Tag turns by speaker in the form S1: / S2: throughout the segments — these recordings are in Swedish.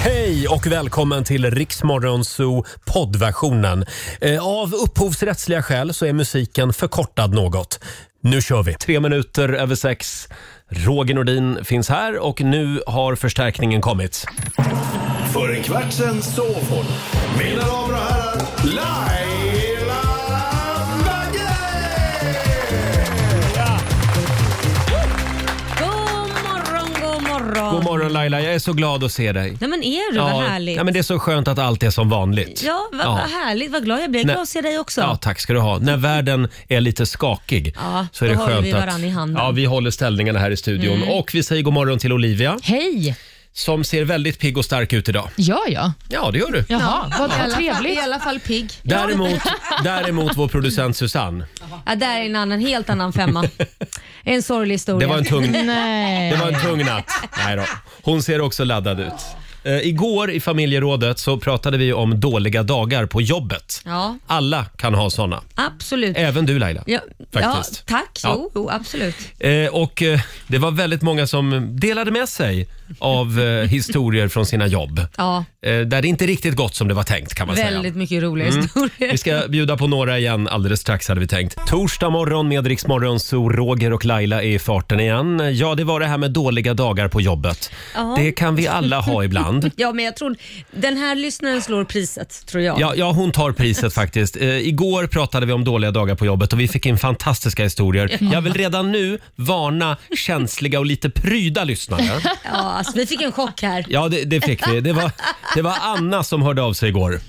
S1: Hej och välkommen till Riksmorgonzoo poddversionen. Eh, Av upphovsrättsliga skäl så är musiken förkortad något. Nu kör vi! Tre minuter över sex. Roger Nordin finns här och nu har förstärkningen kommit.
S2: För en kvart sen sov hon. Mina damer och herrar, Laila Bagge!
S3: God morgon, god morgon.
S1: God morgon Laila, jag är så glad att se dig.
S3: Nej men är du, vad härligt.
S1: ja, men det är så skönt att allt är som vanligt.
S3: Ja, vad, vad härligt, vad glad jag blir. Jag är
S1: Nej.
S3: glad att se dig också.
S1: Ja, tack ska du ha. När världen är lite skakig
S3: Ja,
S1: så är
S3: då
S1: det
S3: håller
S1: skönt
S3: vi
S1: att...
S3: varann i handen. Mm.
S1: Ja, vi håller ställningarna här i studion. Och vi säger god morgon till Olivia
S4: Hej!
S1: som ser väldigt pigg och stark ut idag.
S4: Gör jag?
S1: Ja, det gör du.
S4: Jaha, vad
S5: I alla fall,
S4: trevligt.
S5: I alla fall pigg.
S1: Däremot, däremot vår producent Susanne.
S3: Ja, där är en annan, helt annan femma. en sorglig
S1: Det
S3: historia.
S1: var en tung,
S4: Nej.
S1: det var en tung natt. Nej då. Hon ser också laddad ut. Eh, igår i familjerådet så pratade vi om dåliga dagar på jobbet.
S3: Ja,
S1: Alla kan ha såna.
S3: absolut.
S1: Även du Laila.
S3: Ja,
S1: Faktiskt.
S3: Ja, tack,
S1: Ja.
S3: Jo, jo, absolut.
S1: Eh, och eh, det var väldigt många som delade med sig av eh, historier från sina jobb.
S3: Ja,
S1: Eh, där det inte riktigt gått som det var tänkt kan man säga.
S3: väldigt mycket roliga historier.
S1: Mm. Vi ska bjuda på några igen alldeles strax hade vi tänkt. Torsdag morgon med Rix Morgon, så Roger och Laila är i farten igen. Ja, det var det här med dåliga dagar på jobbet.
S3: Ja.
S1: Det kan vi alla ha ibland.
S3: Ja, men jag tror den här lyssnaren slår priset, tror jag.
S1: Ja, ja, hon tar priset faktiskt. Eh, igår pratade vi om dåliga dagar på jobbet och vi fick in fantastiska historier. Jag vill redan nu varna känsliga och lite pryda lyssnare.
S3: Ja, alltså, vi fick en chock här.
S1: Ja, det, det fick vi. Det var, det var Anna som hörde av sig igår.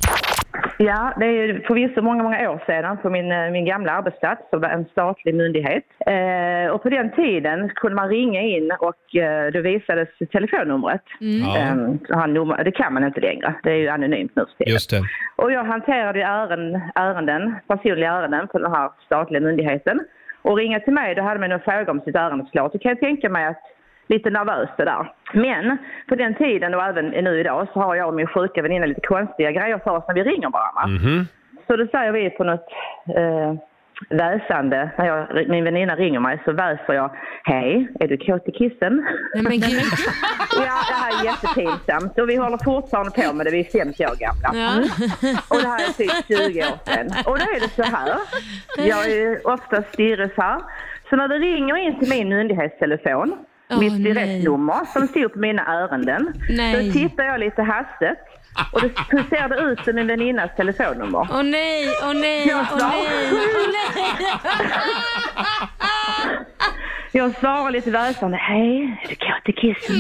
S6: Ja, det är förvisso många, många år sedan på min, eh, min gamla arbetsplats som var en statlig myndighet. Eh, och på den tiden kunde man ringa in och eh, då visades telefonnumret.
S1: Mm. Ja,
S6: Eh, så han nummer, det kan man inte längre, det är ju anonymt nu för tiden.
S1: just det.
S6: Och jag hanterade ju ärenden, ärenden, personliga ärenden på den här statliga myndigheten. Och ringa till mig, då hade man en fråga om sitt ärende såklart. Då kan jag tänka mig att lite nervöst det där. Men på den tiden och även nu idag så har jag och min sjuka väninna lite konstiga grejer för oss när vi ringer varandra.
S1: Mhm.
S6: Så då säger vi på något eh, väsande, när jag, min väninna ringer mig så väser jag Hej, är du kåt i kissen?
S3: Nej, men gud.
S6: ja, det här är jättepinsamt och vi håller fortfarande på med det, vi är 50 år gamla.
S3: Ja.
S6: Och det här är typ 20 år sedan. Och då är det så här. Jag är ju oftast styrelseherr. Så när det ringer in till min myndighetstelefon,
S3: Åh,
S6: mitt direktnummer som stod på mina ärenden,
S3: Nej.
S6: då tittar jag lite hastigt och då ser det ut som min väninnas telefonnummer.
S3: Åh nej, åh nej,
S6: Jag
S3: åh
S6: sa-
S3: nej. Åh, nej.
S6: Jag svarar lite väsande, hej, är du kåt i kissen?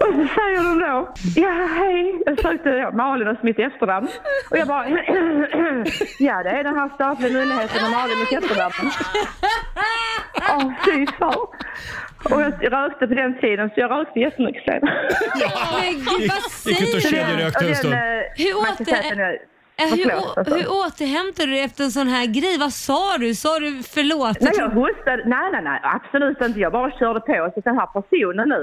S6: Och så säger de då, ja hej, jag sökte ja, Malin och mitt efternamn. Och jag bara, ja det är den här statliga myndigheten och Malin mitt efternamn. Åh fy fan. Och jag rökte på den tiden så jag rökte jättemycket sen.
S3: Men gud, vad
S1: gick ut och
S3: säger
S1: kedjerökte. rökte
S3: du?
S1: en stund.
S3: Hur
S6: eh, man kan
S3: åt
S6: säga
S3: det-
S6: att den är-
S3: Eh, Hur,
S6: Förlåt,
S3: å-
S6: alltså.
S3: hur återhämtar du dig efter en sån här grej? Vad sa du? Sa du förlåt?
S6: Nej, jag hostade. Nej, nej, nej, absolut inte. Jag bara körde på. Så den här personen nu,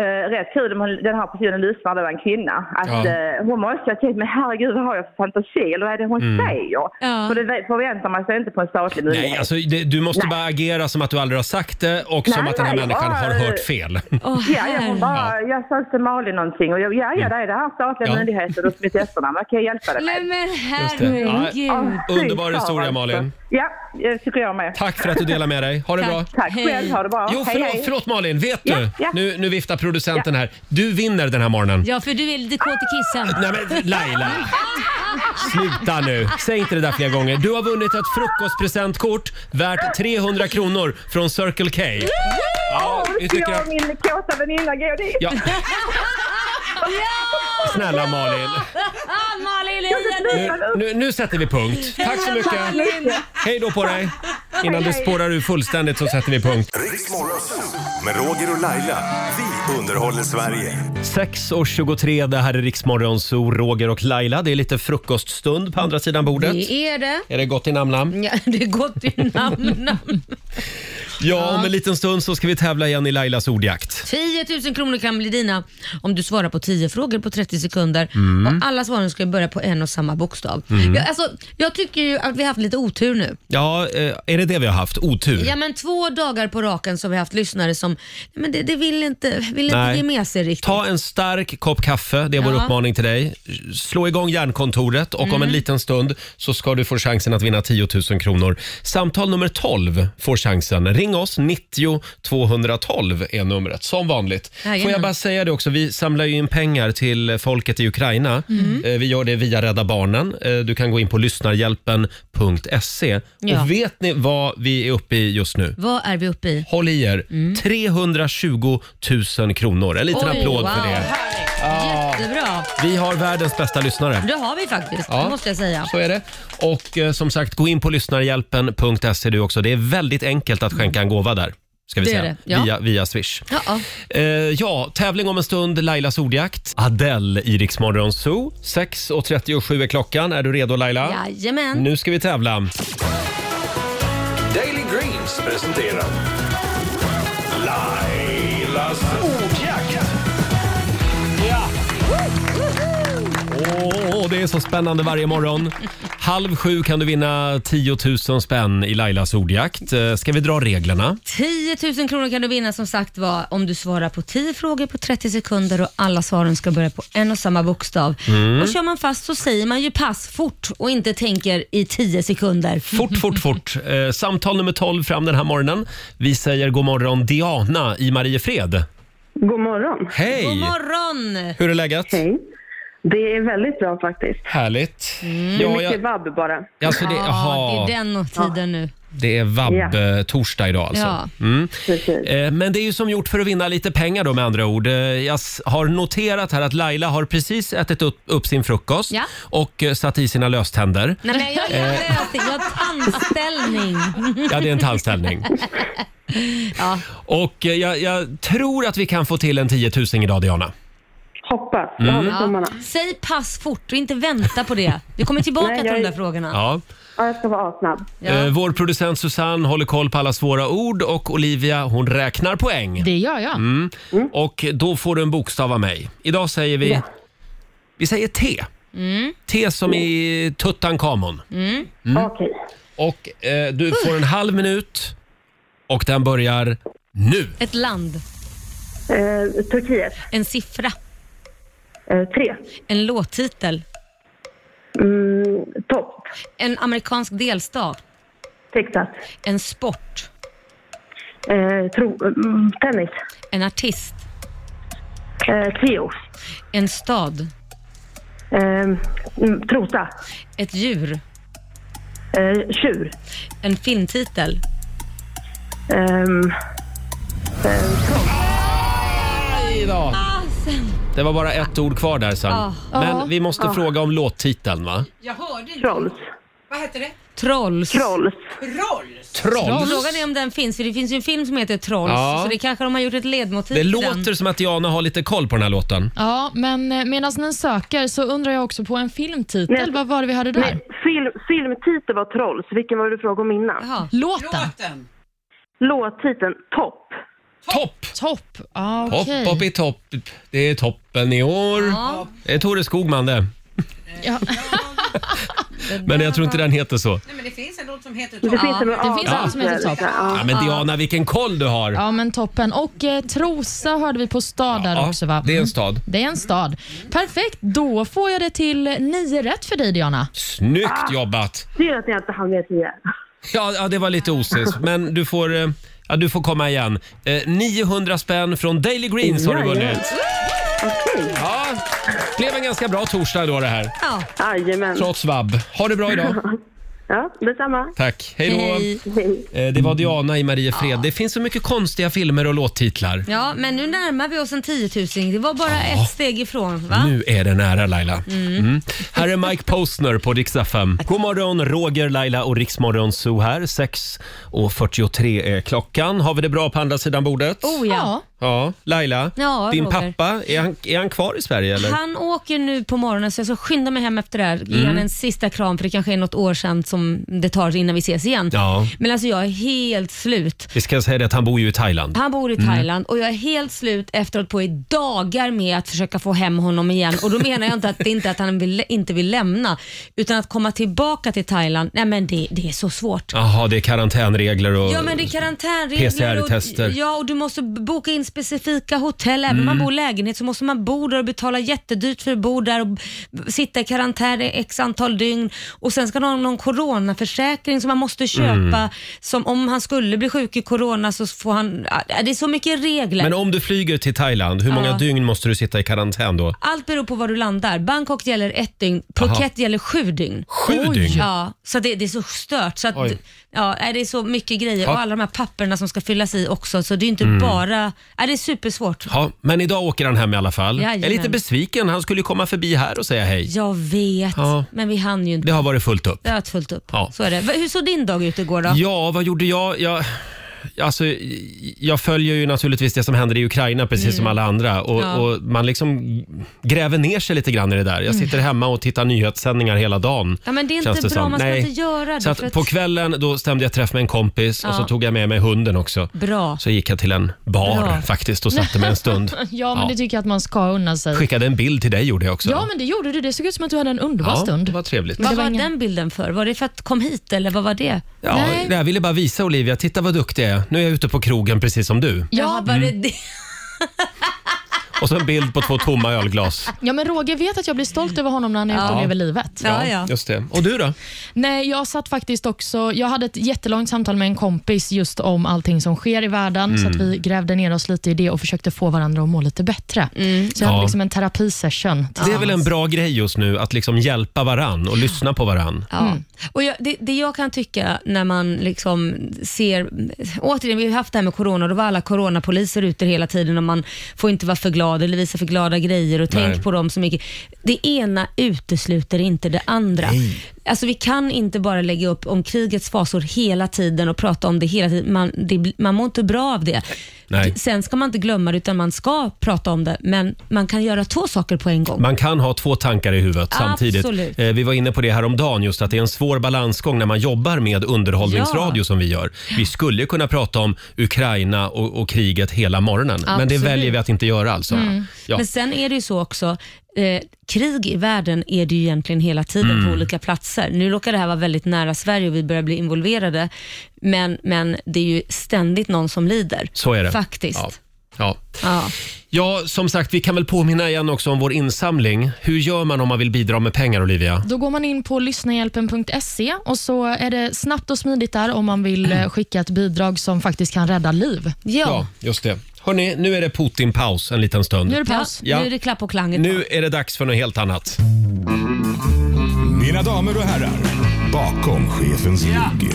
S6: eh, rätt kul om hon- den här personen lyssnar, det var en kvinna. Att,
S1: Ja.
S6: eh, hon måste ha tänkt, men herregud vad har jag för fantasi? Eller vad är det hon säger?
S3: Ja.
S6: För det förväntar man sig inte på en statlig myndighet.
S1: Mm. Nej, alltså, det, du måste bara agera som att du aldrig har sagt det och som
S6: Nej,
S1: att den här
S6: nej,
S1: människan har
S6: bara-
S1: hört fel.
S3: Åh,
S6: Ja, ja, hon bara,
S1: Ja. Mm.
S6: jag sökte Malin någonting och jag, ja, ja, det är det här statliga
S1: Ja.
S6: myndigheten och mitt efternamn. Vad kan jag hjälpa dig
S3: Nej
S6: med?
S3: men
S1: Just det. Ja.
S3: herregud.
S6: Åh, fy
S1: Underbar
S6: fan,
S1: historia,
S6: alltså.
S1: Malin.
S6: Ja, det tycker jag med.
S1: Tack för att du delar med dig. Ha det
S3: Tack.
S1: bra.
S6: Tack
S3: Hej.
S6: själv, ha det bra.
S1: Jo, förlåt, förlåt Malin. Vet
S6: Ja,
S1: du?
S6: ja.
S1: Nu, nu viftar producenten här. Du vinner den här morgonen.
S3: Ja för du är lite kåt i kissen.
S1: Nej men Laila! Sluta nu. Säg inte det där fler gånger. Du har vunnit ett frukostpresentkort värt 300 kronor från Circle K. Ja, vi tycker att...
S6: Jag och min kåta väninna går dit.
S1: Ja. Snälla Malin.
S3: Ah, Malin igen!
S1: Nu, nu, nu sätter vi punkt. Tack så mycket.
S3: Malin.
S1: Hej då på dig. Innan det spårar ur fullständigt så sätter vi punkt.
S2: Riksmorgonzoo med Roger och Laila. Vi underhåller Sverige.
S1: 6.23, det här är Riksmorgon, så Roger och Laila. Det är lite frukoststund på andra sidan bordet.
S3: Det är det.
S1: Är det gott i namn?
S3: Ja, det är gott i namn.
S1: Ja, om en liten stund så ska vi tävla igen i Lailas ordjakt.
S3: 10 000 kronor kan bli dina om du svarar på 10 frågor på 30 sekunder.
S1: Mm.
S3: Och alla svaren ska ju börja på en och samma bokstav. Jag, alltså, jag tycker ju att vi har haft lite otur nu.
S1: Ja, eh, är det det vi har haft? Otur?
S3: Ja, men två dagar på raken så har vi haft lyssnare som nej, men det, det vill, inte, vill inte
S1: Nej.
S3: ge med sig riktigt.
S1: Ta en stark kopp kaffe, det är vår
S3: Ja. Mm.
S1: uppmaning till dig. Slå igång Hjärnkontoret och om en liten stund så ska du få chansen att vinna 10 000 kronor. Samtal nummer 12 får chansen. Ring oss, 90 212 är numret, som vanligt. Får jag
S3: Jajamän.
S1: bara säga det också, vi samlar ju in pengar till folket i Ukraina.
S3: Mm.
S1: Eh, Vi gör det via Rädda Barnen. Eh, Du kan gå in på lyssnarhjälpen.se.
S3: Ja.
S1: Och vet ni vad vi är uppe i just nu?
S3: Vad är vi uppe i?
S1: Håll i er,
S3: Mm.
S1: 320 000 kronor. En liten applåd
S3: wow.
S1: för det.
S3: Härligt. Jättebra.
S1: Vi har världens bästa lyssnare.
S3: Det har vi faktiskt,
S1: Ja.
S3: det måste jag säga.
S1: Så är det. Och eh, som sagt, gå in på lyssnarhjälpen.se du också. Det är väldigt enkelt att skänka en gåva där. Ska vi
S3: Det är
S1: säga.
S3: det, ja.
S1: Via, via Swish.
S3: Ja, ja.
S1: Eh, ja, tävling om en stund. Lailas ordjakt. Adele i Rix Morgon Zoo. 6.37 är klockan. Är du redo Laila?
S3: Jajamän.
S1: Nu ska vi tävla.
S2: Daily Greens presenterar Lailas ordjakt.
S1: Åh, det är så spännande varje morgon. Halv sju kan du vinna 10 000 spänn i Lailas ordjakt. Eh, Ska vi dra reglerna?
S3: 10 000 kronor kan du vinna som sagt var om du svarar på 10 frågor på 30 sekunder och alla svaren ska börja på en och samma bokstav.
S1: Mm.
S3: Och kör man fast så säger man ju pass fort och inte tänker i 10 sekunder.
S1: Fort, fort, fort. Eh, samtal nummer 12 fram den här morgonen. Vi säger god morgon Diana i Mariefred.
S4: God morgon.
S1: Hej!
S3: God morgon!
S1: Hur är läget?
S4: Hej. Det är väldigt bra faktiskt.
S1: Härligt.
S3: Mm.
S1: Ja,
S4: Mycket
S1: jag,
S4: vabb bara.
S1: alltså det,
S3: Ja,
S1: aha,
S3: det är den tiden nu.
S1: det är vabb-torsdag idag alltså.
S3: Ja.
S1: Mm.
S4: Precis.
S1: Eh, Men det är ju som gjort för att vinna lite pengar då med andra ord. Eh, Jag s- har noterat här att Laila har precis ätit upp, upp sin frukost
S3: Ja.
S1: och eh, satt i sina löständer.
S3: Nej, men jag,
S1: Eh.
S3: jag, löste- jag har tandställning.
S1: Ja, det är en tandställning.
S3: Ja.
S1: Och eh, jag, jag tror att vi kan få till en 10 000 idag Diana.
S4: Hoppas.
S1: Mm.
S4: Jag håller tummarna.
S3: Säg pass fort och inte vänta på det. Vi kommer tillbaka
S4: Nej,
S3: till de
S4: jag-
S3: där frågorna.
S1: Ja.
S4: Ja, jag ska vara assnabb.
S3: Ja.
S1: Eh, Vår producent Susanne håller koll på alla svåra ord och Olivia hon räknar poäng.
S5: Det gör jag.
S1: Mm. Och då får du en bokstav av mig. Idag säger vi... Vi säger T.
S3: Mm.
S1: T som i Tutankhamon. Mm.
S4: Okej.
S1: Och eh, du får en halv minut och den börjar nu.
S3: Ett land,
S4: Eh, Turkiet.
S3: en siffra,
S4: Eh, tre.
S3: en låttitel,
S4: Mm, topp.
S3: en amerikansk delstat,
S4: Texas.
S3: en sport,
S4: Eh, tro, mm, tennis.
S3: en artist,
S4: Eh, trio.
S3: en stad,
S4: Eh, mm, trosa.
S3: ett djur,
S4: Eh, tjur.
S3: en filmtitel.
S4: Ehm,
S1: Det var bara ett ord kvar där sen.
S3: Ah.
S1: Men vi måste fråga om låttiteln va?
S4: trolls.
S3: Trolls.
S4: Trolls.
S1: Troll.
S3: Frågan är om den finns, för det finns ju en film som heter Trolls,
S1: Ja.
S3: så det kanske de har gjort ett ledmotiv
S1: Det
S3: till den.
S1: låter som att Diana har lite koll på den här låten.
S5: Ja, men eh, medan ni söker så undrar jag också på en filmtitel.
S4: Nej.
S5: Vad var det vi hörde där?
S4: Film, filmtitel var trolls. Vilken var det du frågade om innan?
S3: Jaha.
S5: Låten.
S4: Låttiteln topp.
S1: Topp!
S5: Topp. Ah,
S1: Hopp,
S5: okej.
S1: hopp i topp. Det är toppen i år.
S3: Ja.
S1: Det är Thore Skogman det.
S5: Ja.
S1: Men jag tror inte den heter så.
S4: Det finns en med
S5: det finns
S4: A.
S5: en som heter topp.
S4: Ja.
S1: Ja, men Diana, vilken koll du har!
S5: Ja, men toppen. Och eh, Trosa hörde vi på stad där
S1: Ja,
S5: också, va? Mm.
S1: det är en stad.
S5: Det är en stad. Perfekt. Då får jag det till nio rätt för dig, Diana.
S1: Snyggt jobbat!
S4: Synd att jag inte hann med tio.
S1: Ja, ja det var lite osis, men du får, eh, ja, du får komma igen. Eh, 900 spänn från Daily Greens har du vunnit. Ja, blev en ganska bra torsdag då det här,
S3: Ja.
S4: Jajamän.
S1: trots vabb. Ha det bra idag.
S4: Ja, detsamma.
S1: Tack, hej
S3: Hej.
S1: då. Eh, Det var
S3: Mm.
S1: Diana i Mariefred. Det finns så mycket konstiga filmer och låttitlar.
S3: Ah. ja, men nu närmar vi oss en 10 000. Det var bara ett steg ifrån, va?
S1: Nu är det nära Laila. Mm. Här är Mike Postner på Rix FM. God morgon, Roger, Laila och Riksmorgon Zoo här. 6.43 är klockan. Har vi det bra på andra sidan bordet?
S3: Oh ja.
S5: Ja.
S1: Ja, Laila,
S3: Ja,
S1: din
S3: Roger.
S1: pappa, är han, är han kvar i Sverige eller? Mm.
S3: Han åker nu på morgonen så jag ska skynda mig hem efter det här. Ge han en sista kram för det kanske är något år sedan som det tar innan vi ses igen.
S1: Ja.
S3: Men alltså jag är helt slut.
S1: Vi ska säga det att han bor ju i Thailand.
S3: Han bor i Thailand och jag är helt slut efteråt på i dagar med att försöka få hem honom igen. Och då menar jag inte att det är inte att han vill, inte vill lämna utan att komma tillbaka till Thailand. Nej men det, det är så svårt.
S1: Jaha, det är karantänregler och...
S3: Ja men det är karantänregler
S1: PCR-tester.
S3: och, ja, och du måste b- boka in specifika hotell. Även om man bor i lägenhet så måste man bo där och betala jättedyrt för att bo där och b- sitta i karantän i x antal dygn. Och sen ska någon någon coronaförsäkring som man måste köpa. Som om han skulle bli sjuk i corona så får han... äh, Det är så mycket regler.
S1: Men om du flyger till Thailand, hur många
S3: Ja.
S1: dygn måste du sitta i karantän då?
S3: Allt beror på var du landar. Bangkok gäller ett dygn, Phuket
S1: Aha.
S3: gäller sju dygn.
S1: Sju dygn?
S3: Ja, så det, det är så stört. Så att,
S1: Oj.
S3: ja, nej, det är så mycket grejer
S1: Ja.
S3: och alla de här papperna som ska fyllas i också. Så det är inte
S1: Mm.
S3: bara... Nej, det är supersvårt.
S1: Ja, men idag åker han hem i alla fall.
S3: Jajamän.
S1: Jag är lite besviken, han skulle ju komma förbi här och säga hej.
S3: Jag vet,
S1: Ja.
S3: men vi hann ju inte.
S1: Det har varit fullt upp.
S3: Vi har haft fullt upp.
S1: Ja.
S3: Så är det. Va- Hur såg din dag ut igår då?
S1: Ja, vad gjorde jag? jag... Alltså, jag följer ju naturligtvis det som händer i Ukraina precis som alla andra och,
S3: Mm. Ja.
S1: och man liksom gräver ner sig lite grann i det där. Jag sitter hemma och tittar nyhetssändningar hela dagen.
S3: Mm. Ja, men det är inte
S1: känns
S3: bra.
S1: som.
S3: Man ska
S1: Nej.
S3: inte göra det,
S1: Så att
S3: för att-
S1: på kvällen då stämde jag träff med en kompis och så
S3: Ja.
S1: tog jag med mig hunden också.
S3: Bra.
S1: Så gick jag till en bar
S3: Bra.
S1: faktiskt och satte mig en stund.
S5: Ja, men
S1: Ja.
S5: det tycker jag att man ska unna sig.
S1: Skickade en bild till dig gjorde jag också.
S5: Ja, men det gjorde du. Det såg ut som att du hade en underbar
S1: Ja,
S5: stund.
S1: det var trevligt.
S5: Men
S3: Vad
S5: det
S3: var,
S5: var ingen-
S3: den bilden för? Var det för att kom hit eller vad var det?
S1: Ja,
S5: Nej.
S1: jag ville bara visa Olivia, titta vad duktig jag är. Nu är jag ute på krogen precis som du.
S3: Jaha,
S5: Ja,
S3: var det det?
S1: Och så en bild på två tomma ölglas.
S5: ja, men Roger vet att jag blir stolt över honom när han är ute
S3: Ja.
S5: och lever livet.
S3: Ja, ja.
S1: Just det. Och du då?
S5: Nej, jag satt faktiskt också, jag hade ett jättelångt samtal med en kompis just om allting som sker i världen, så att vi grävde ner oss lite i det och försökte få varandra att må lite bättre. Så jag
S1: Ja.
S5: hade liksom en terapisession.
S1: Mm. Det är väl en bra grej just nu att liksom hjälpa varann och lyssna på varann.
S3: Ja. Mm. Och jag, det, det jag kan tycka när man liksom ser, återigen vi har ju haft det här med corona, då var alla coronapoliser ute hela tiden och man får inte vara för glad eller visa för glada grejer och
S1: Nej.
S3: tänk på dem så mycket. Det ena utesluter inte det andra. Alltså vi kan inte bara lägga upp om krigets fasor hela tiden och prata om det hela tiden. Man, det, blir- man mår inte bra av det.
S1: Nej.
S3: Sen ska man inte glömma det utan man ska prata om det, men man kan göra två saker på en gång.
S1: Man kan ha två tankar i huvudet samtidigt.
S3: Absolut.
S1: Eh, Vi var inne på det här om dagen just att det är en svår balansgång när man jobbar med underhållningsradio
S3: Ja.
S1: som vi gör. Vi skulle ju kunna prata om Ukraina och, och kriget hela morgonen, men det
S3: Absolut. Mm.
S1: väljer vi att inte göra alltså. Ja.
S3: Men sen är det ju så också, eh, krig i världen är det ju egentligen hela tiden
S1: Mm.
S3: på olika platser. Nu råkar det här vara väldigt nära Sverige och vi börjar bli involverade, men, men det är ju ständigt någon som lider.
S1: Så är det.
S3: Faktiskt.
S1: Ja.
S3: Ja.
S1: Ja. ja, som sagt, vi kan väl påminna igen också om vår insamling. Hur gör man om man vill bidra med pengar, Olivia?
S5: Då går man in på lyssnahjälpen.se och så är det snabbt och smidigt där om man vill eh, skicka ett bidrag som faktiskt kan rädda liv.
S3: Ja.
S1: just det. Hörni, nu är det Putin-paus en liten stund.
S5: Nu är det
S3: ja.
S5: paus.
S1: Ja.
S3: Nu är det klapp och klanget.
S1: Nu är det dags för något helt annat.
S2: Mina damer och herrar, bakom chefens rygg.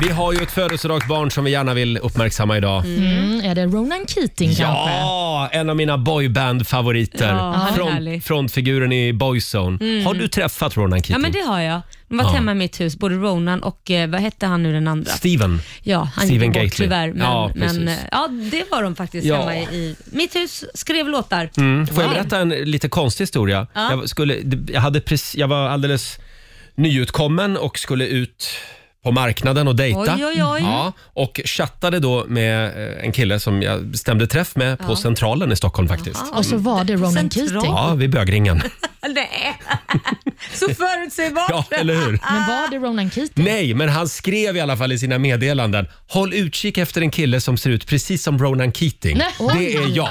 S1: Vi har ju ett födelsedagsbarn som vi gärna vill uppmärksamma idag.
S5: Mm, är det Ronan Keating kanske?
S1: Ja, en av mina boyband-favoriter.
S3: Ja,
S1: Front,
S3: härlig. Mm.
S1: frontfiguren i Boyzone. Har du träffat Ronan Keating?
S3: Ja men det har jag. De var
S1: Ja.
S3: hemma i mitt hus, både Ronan och eh, vad hette han nu den andra?
S1: Steven.
S3: Ja, han
S1: Stephen
S3: gick bort
S1: Gately.
S3: tyvärr. Men,
S1: Ja, precis.
S3: men, eh, ja, det var de faktiskt
S1: Ja. Mm.
S3: hemma i, i mitt hus, skrev låtar.
S1: Får jag berätta en lite konstig historia?
S3: Ja.
S1: Jag, skulle, jag, hade precis, jag var alldeles nyutkommen och skulle ut på marknaden och dejta.
S3: Oj, oj, oj.
S1: Ja, och chattade då med eh, en kille som jag bestämde träff med på Centralen i Stockholm faktiskt.
S5: Och så var det Ronan
S3: Central.
S5: Keating.
S1: Ja, vid bögringen.
S3: Nej, så förutsägbart.
S1: Ja, eller hur?
S5: Men var det Ronan Keating?
S1: Nej, men han skrev i alla fall i sina meddelanden “Håll utkik efter en kille som ser ut precis som Ronan Keating.
S5: Nej.
S1: Det är jag.”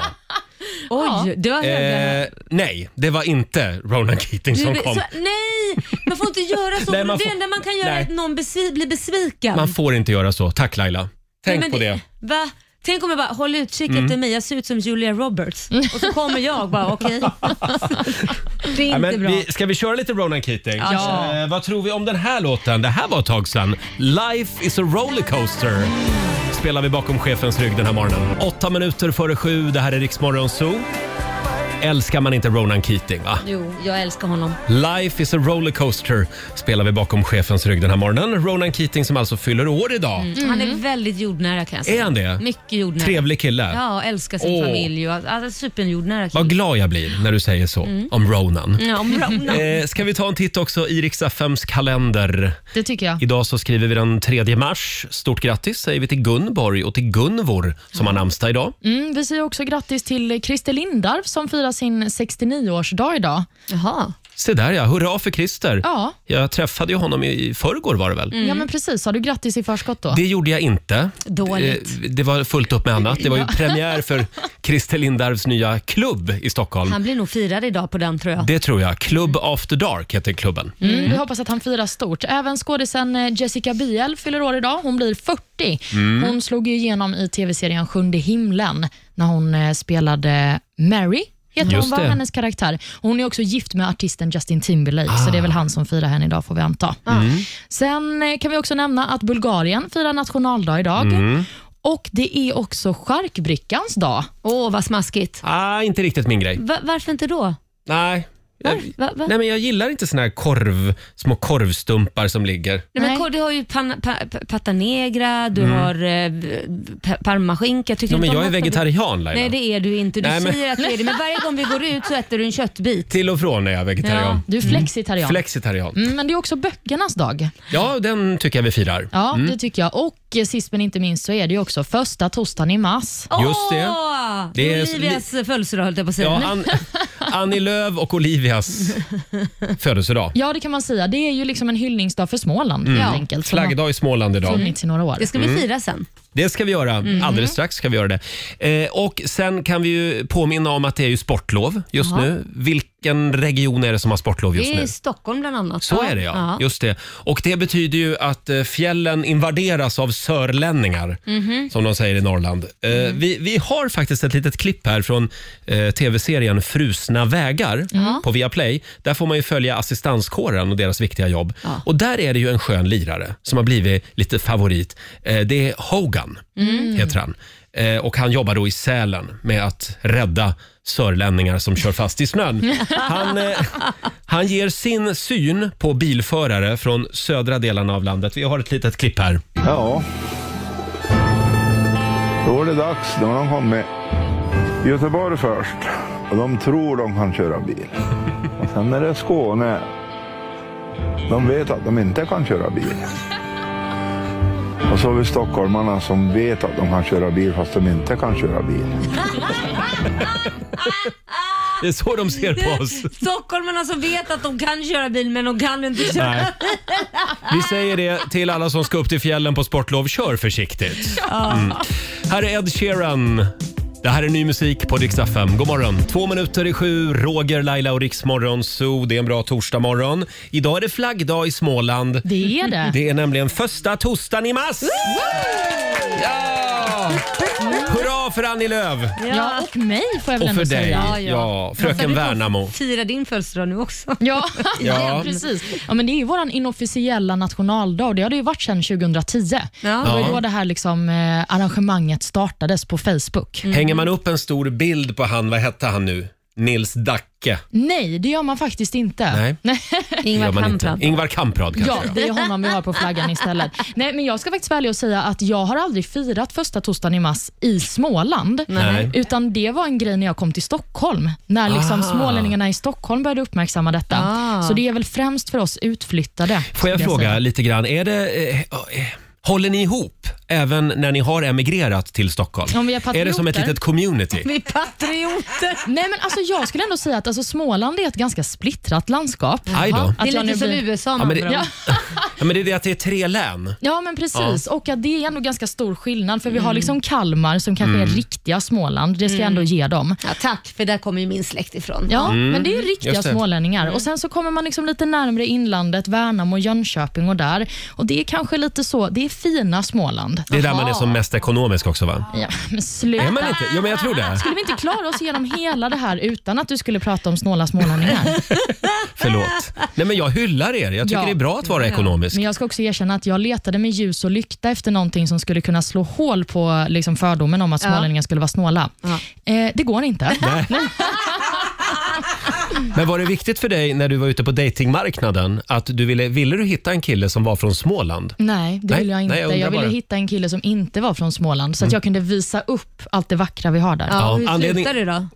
S3: Oj, du har höga
S1: eh, Nej, det var inte Ronan Keating
S3: Du
S1: som
S3: be-
S1: kom.
S3: så, nej, man får inte göra så.
S1: Nej,
S3: för
S1: man får-
S3: det enda man kan göra
S1: nej.
S3: är att någon besvi- blir besviken.
S1: Man får inte göra så. Tack Laila.
S3: Mm. Nej,
S1: Tänk
S3: men
S1: på det. Mm.
S3: Va? Tänk om jag bara, håll utkik efter mig, jag ser ut som Julia Roberts. Och så kommer jag bara, okej. det
S1: Ja,
S3: är inte
S1: men
S3: bra.
S1: vi, ska vi köra lite Ronan Keating?
S5: Ja.
S1: Eh, vad tror vi om den här låten? Det här var ett tag sedan. Life is a rollercoaster. Spelar vi bakom chefens rygg den här morgonen. Åtta minuter före sju, det här är Riksmorgon Zoo. Älskar man inte Ronan Keating? Va?
S3: Jo, jag älskar honom.
S1: Life is a rollercoaster spelar vi bakom chefens rygg den här morgonen. Ronan Keating som alltså fyller år idag.
S3: Han är väldigt jordnära kan jag säga.
S1: Är han det?
S3: Mycket jordnära.
S1: Trevlig kille.
S3: Ja, älskar sin
S1: Åh.
S3: familj och alltså, supernjordnära kille.
S1: Vad glad jag blir när du säger så
S3: Mm.
S1: om Ronan.
S3: Ja, om Ronan.
S1: Eh, ska vi ta en titt också i Riks-FMs kalender?
S5: Det tycker jag.
S1: Idag så skriver vi den 3 mars. Stort grattis säger vi till Gunborg och till Gunvor som har namnsdag idag.
S5: Mm, vi säger också grattis till Christer Lindarw som firar sin 69-årsdag idag.
S3: Jaha.
S1: Se där ja, hurra för Christer.
S5: Ja.
S1: Jag träffade ju honom i förrgår var det väl?
S5: Ja, men precis. Sa du grattis i förskott då?
S1: Mm. Det gjorde jag inte.
S3: Dåligt.
S1: Eh, Det var fullt upp med annat. Det var ju premiär för Christer Lindarws nya klubb i Stockholm.
S3: Han blir nog firad idag på den tror jag.
S1: Det tror jag. Club After Dark heter klubben.
S5: Mm. Vi hoppas att han firar stort. Även skådisen eh, Jessica Biel fyller år idag. Hon blir 40.
S1: Mm.
S5: Hon slog ju igenom i tv-serien Sjunde himlen när hon eh, spelade Mary. Heter
S1: Just
S5: hon var
S1: det.
S5: hennes karaktär. Hon är också gift med artisten Justin Timberlake, så det är väl
S1: Ah.
S5: han som firar henne idag får vi anta.
S1: Mm.
S5: Sen eh, kan vi också nämna att Bulgarien firar nationaldag idag.
S1: Mm.
S5: Och det är också charkbrickans dag.
S3: Åh, vad smaskigt.
S1: Ah, inte riktigt min grej.
S3: Va- varför inte då?
S1: Nej.
S3: Va? Va? Va?
S1: Nej, men jag gillar inte såna här korv, små korvstumpar som ligger.
S3: Nej, men,
S5: Nej.
S3: kolla, du har ju pan, pa, pa, pata negra, du har eh, pa, parmaskinka. Tycker
S1: Mm. Ja, men
S3: inte om
S1: jag är
S3: något av det?
S1: vegetarian Laila.
S3: Nej det är du inte. Du
S1: Nej, men-
S3: säger att du är det men varje gång vi går ut så äter du en köttbit.
S1: Till och från är jag vegetarian.
S5: Du är flexitarian.
S1: Flexitarian.
S5: Mm, men det är också böckernas dag.
S1: Ja, den tycker jag vi firar.
S5: Ja, det tycker jag. Och eh, sist men inte minst så är det ju också första torsdagen i mars.
S1: Just det.
S3: Åh!
S1: Det är-
S3: Olivias födelsedag höll jag på att säga.
S1: Ja, An- Annie Lööf och Olivias födelsedag.
S5: Ja, det kan man säga. Det är ju liksom en hyllningsdag för Småland helt enkelt. som
S1: Mm. Flaggdag i Småland
S5: har
S1: idag.
S3: Mm.
S5: funnits i några år.
S3: Det ska
S1: Mm.
S3: vi fira sen.
S1: Det ska vi göra.
S3: Mm.
S1: Alldeles strax ska vi göra det. Eh, och Sen kan vi ju påminna om att det är ju sportlov just nu. Vilken region är det som har sportlov just
S3: Det är
S1: nu?
S3: i Stockholm bland annat.
S1: Så är det ja. Just det. Och det betyder ju att eh, fjällen invaderas av sörlänningar, som de säger i Norrland. Eh, Vi, vi har faktiskt ett litet klipp här från eh, tv-serien Frusna vägar på Viaplay. Där får man ju följa assistanskåren och deras viktiga jobb. Och där är det ju en skön lirare som har blivit lite favorit. Eh, det är Hogan, heter han. Eh, och han jobbar då i Sälen med att rädda sörlänningar som kör fast i snön. Han, eh, han ger sin syn på bilförare från södra delarna av landet. Vi har ett litet klipp här.
S7: Ja. Då är det dags. Då har de kommit. Göteborg först. Och de tror de kan köra bil. Och sen är det Skåne. De vet att de inte kan köra bil. Och så har vi stockholmarna som vet att de kan köra bil fast de inte kan köra bil.
S1: Det är så de ser på oss.
S3: Stockholmarna som vet att de kan köra bil men de kan inte köra.
S1: Nej. Vi säger det till alla som ska upp till fjällen på sportlov. Kör försiktigt. Mm. Här är Ed Sheeran. Det här är ny musik på Rix FM. God morgon! Två minuter i sju, Roger, Laila och Rix Morgon Zoo. Det är en bra torsdagmorgon. Idag är det flaggdag i Småland.
S5: Det är det.
S1: Det är nämligen första torsdagen i mars! Ja! Hurra för Annie Lööf!
S5: Ja, och mig får jag väl
S1: Och
S5: ändå
S1: för dig,
S5: säga.
S1: ja,
S3: ja.
S1: fröken Värnamo.
S3: Fira din födelsedag nu också.
S5: Ja,
S1: Ja.
S5: ja. precis. Ja, men det är ju vår inofficiella nationaldag och det har det ju varit sedan 2010.
S3: Ja.
S5: Det var ju
S1: Ja.
S5: då det här liksom, eh, arrangemanget startades på Facebook.
S3: Mm.
S1: Hänger man upp en stor bild på han, vad hette han nu? Nils Dacke.
S5: Nej, det gör man faktiskt inte.
S1: Nej.
S3: Ingvar
S1: Gör man inte.
S3: Kamprad.
S1: Ingvar Kamprad kanske.
S5: Ja, det är honom vi har på flaggan istället. Nej, men jag ska faktiskt välja att säga att jag har aldrig firat första torsdagen i mars i Småland.
S1: Nej.
S5: Utan det var en grej när jag kom till Stockholm. När liksom
S1: Ah.
S5: smålänningarna i Stockholm började uppmärksamma detta.
S3: Ah.
S5: Så det är väl främst för oss utflyttade.
S1: Får
S5: skulle
S1: jag
S5: säga.
S1: fråga lite grann, är det, eh, eh, håller ni ihop även när ni har emigrerat till Stockholm?
S5: Om vi är
S1: är det som ett
S5: patrioter?
S1: litet community?
S3: Vi är patrioter.
S5: Nej, men alltså, jag skulle ändå säga att alltså, Småland är ett ganska splittrat landskap.
S1: Mm. Aj då.
S5: Att
S3: Det
S5: jag
S3: är lite
S5: nu
S3: som
S5: blir-
S3: USA
S1: Ja,
S3: med
S1: men det,
S3: andra
S1: ja.
S3: ord.
S1: men det är det att det är tre län.
S5: Ja, men precis. Och att det är ändå ganska stor skillnad, för vi
S1: Mm.
S5: har liksom Kalmar som kanske är riktiga Småland. Det ska jag ändå ge dem.
S3: ja, Tack, för där kommer ju min släkt ifrån.
S5: Ja, men det är ju riktiga
S1: Mm. just det. Mm.
S5: smålänningar. Och Sen så kommer man liksom lite närmre inlandet, Värnamo, Jönköping och där. Och Det är kanske lite så, det är fina Småland.
S1: Det är där man är som mest ekonomisk också va?
S5: Ja, men sluta.
S1: Är man inte? Ja, men jag tror det.
S5: Skulle vi inte klara oss igenom hela det här utan att du skulle prata om snåla smålänningar?
S1: Förlåt. Nej, men jag hyllar er. Jag tycker
S5: Ja.
S1: det är bra att vara ekonomisk.
S5: Men jag ska också erkänna att jag letade med ljus och lykta efter någonting som skulle kunna slå hål på liksom fördomen om att smålänningar skulle vara snåla. Eh, det går inte.
S1: Men var det viktigt för dig när du var ute på datingmarknaden att du ville, ville du hitta en kille som var från Småland?
S5: Nej, det
S1: Nej,
S5: ville jag inte.
S1: nej, jag
S5: jag,
S1: undrar
S5: ville
S1: bara. Mm.
S5: hitta en kille som inte var från Småland, så att jag kunde visa upp allt det vackra vi har där.
S1: Ja,
S3: Ja, hur
S1: anledning-
S3: slutar det då?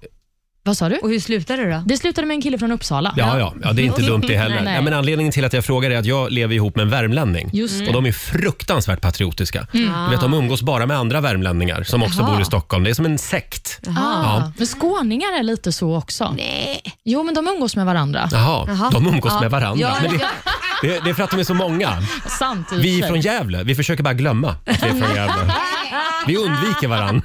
S5: Vad sa du?
S3: Och hur slutar det då?
S5: Det slutade med en kille från Uppsala.
S1: Ja, ja, ja det är inte dumt det heller.
S5: Nej, nej.
S1: Ja, men anledningen till att jag frågar är att jag lever ihop med en värmlänning.
S5: Just det.
S1: Mm. Och de är fruktansvärt patriotiska. Du vet, de umgås bara med andra värmlänningar som också
S5: Jaha.
S1: bor i Stockholm. Det är som en sekt.
S5: Ah,
S1: Ja.
S5: Men skåningar är lite så också.
S3: Nej.
S5: Jo, men de umgås med varandra.
S1: Jaha,
S3: Jaha.
S1: de umgås
S3: Ja.
S1: med varandra.
S3: Ja,
S1: Men det, det, det är för att de är så många.
S5: Sant i och
S1: Vi
S5: för sig.
S1: från Gävle, vi försöker bara glömma att vi är från Gävle. Vi undviker varandra.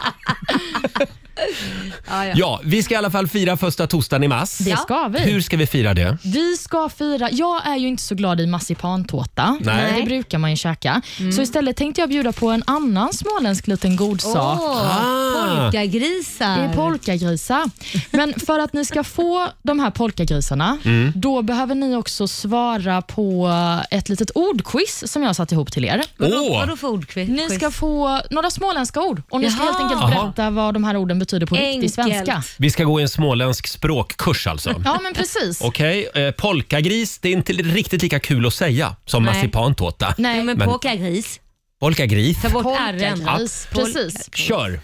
S3: Ja, ja.
S1: Ja, vi ska i alla fall fira första torsdagen i mass.
S5: Det ska vi.
S1: Hur ska vi fira det?
S5: Vi ska fira, jag är ju inte så glad i marsipantårta.
S1: Nej.
S5: Det brukar man ju käka. Så istället tänkte jag bjuda på en annan småländsk liten god sak.
S1: Ah.
S5: Det är
S3: Polkagrisar.
S5: polkagrisar. Men för att ni ska få de här polkagrisarna,
S1: Mm.
S5: då behöver ni också svara på ett litet ordquiz som jag har satt ihop till er.
S1: Åh.
S3: Vadå- Vadå för ordquiz?
S5: Ni ska få några småländska ord och ni ska
S3: Jaha.
S5: helt enkelt
S1: Jaha.
S5: berätta vad de här orden betyder på riktig
S3: Enkelt.
S5: svenska.
S1: Vi ska gå i en småländsk språkkurs alltså.
S5: Ja, men precis.
S1: Okej, eh, polkagris, det är inte riktigt lika kul att säga som
S3: Nej.
S1: marsipantårta.
S3: Ja,
S5: Nej,
S3: men
S1: Men-
S3: polkagris.
S1: Polkagris.
S3: Ta bort ärren.
S5: polkagris. Precis.
S1: Kör!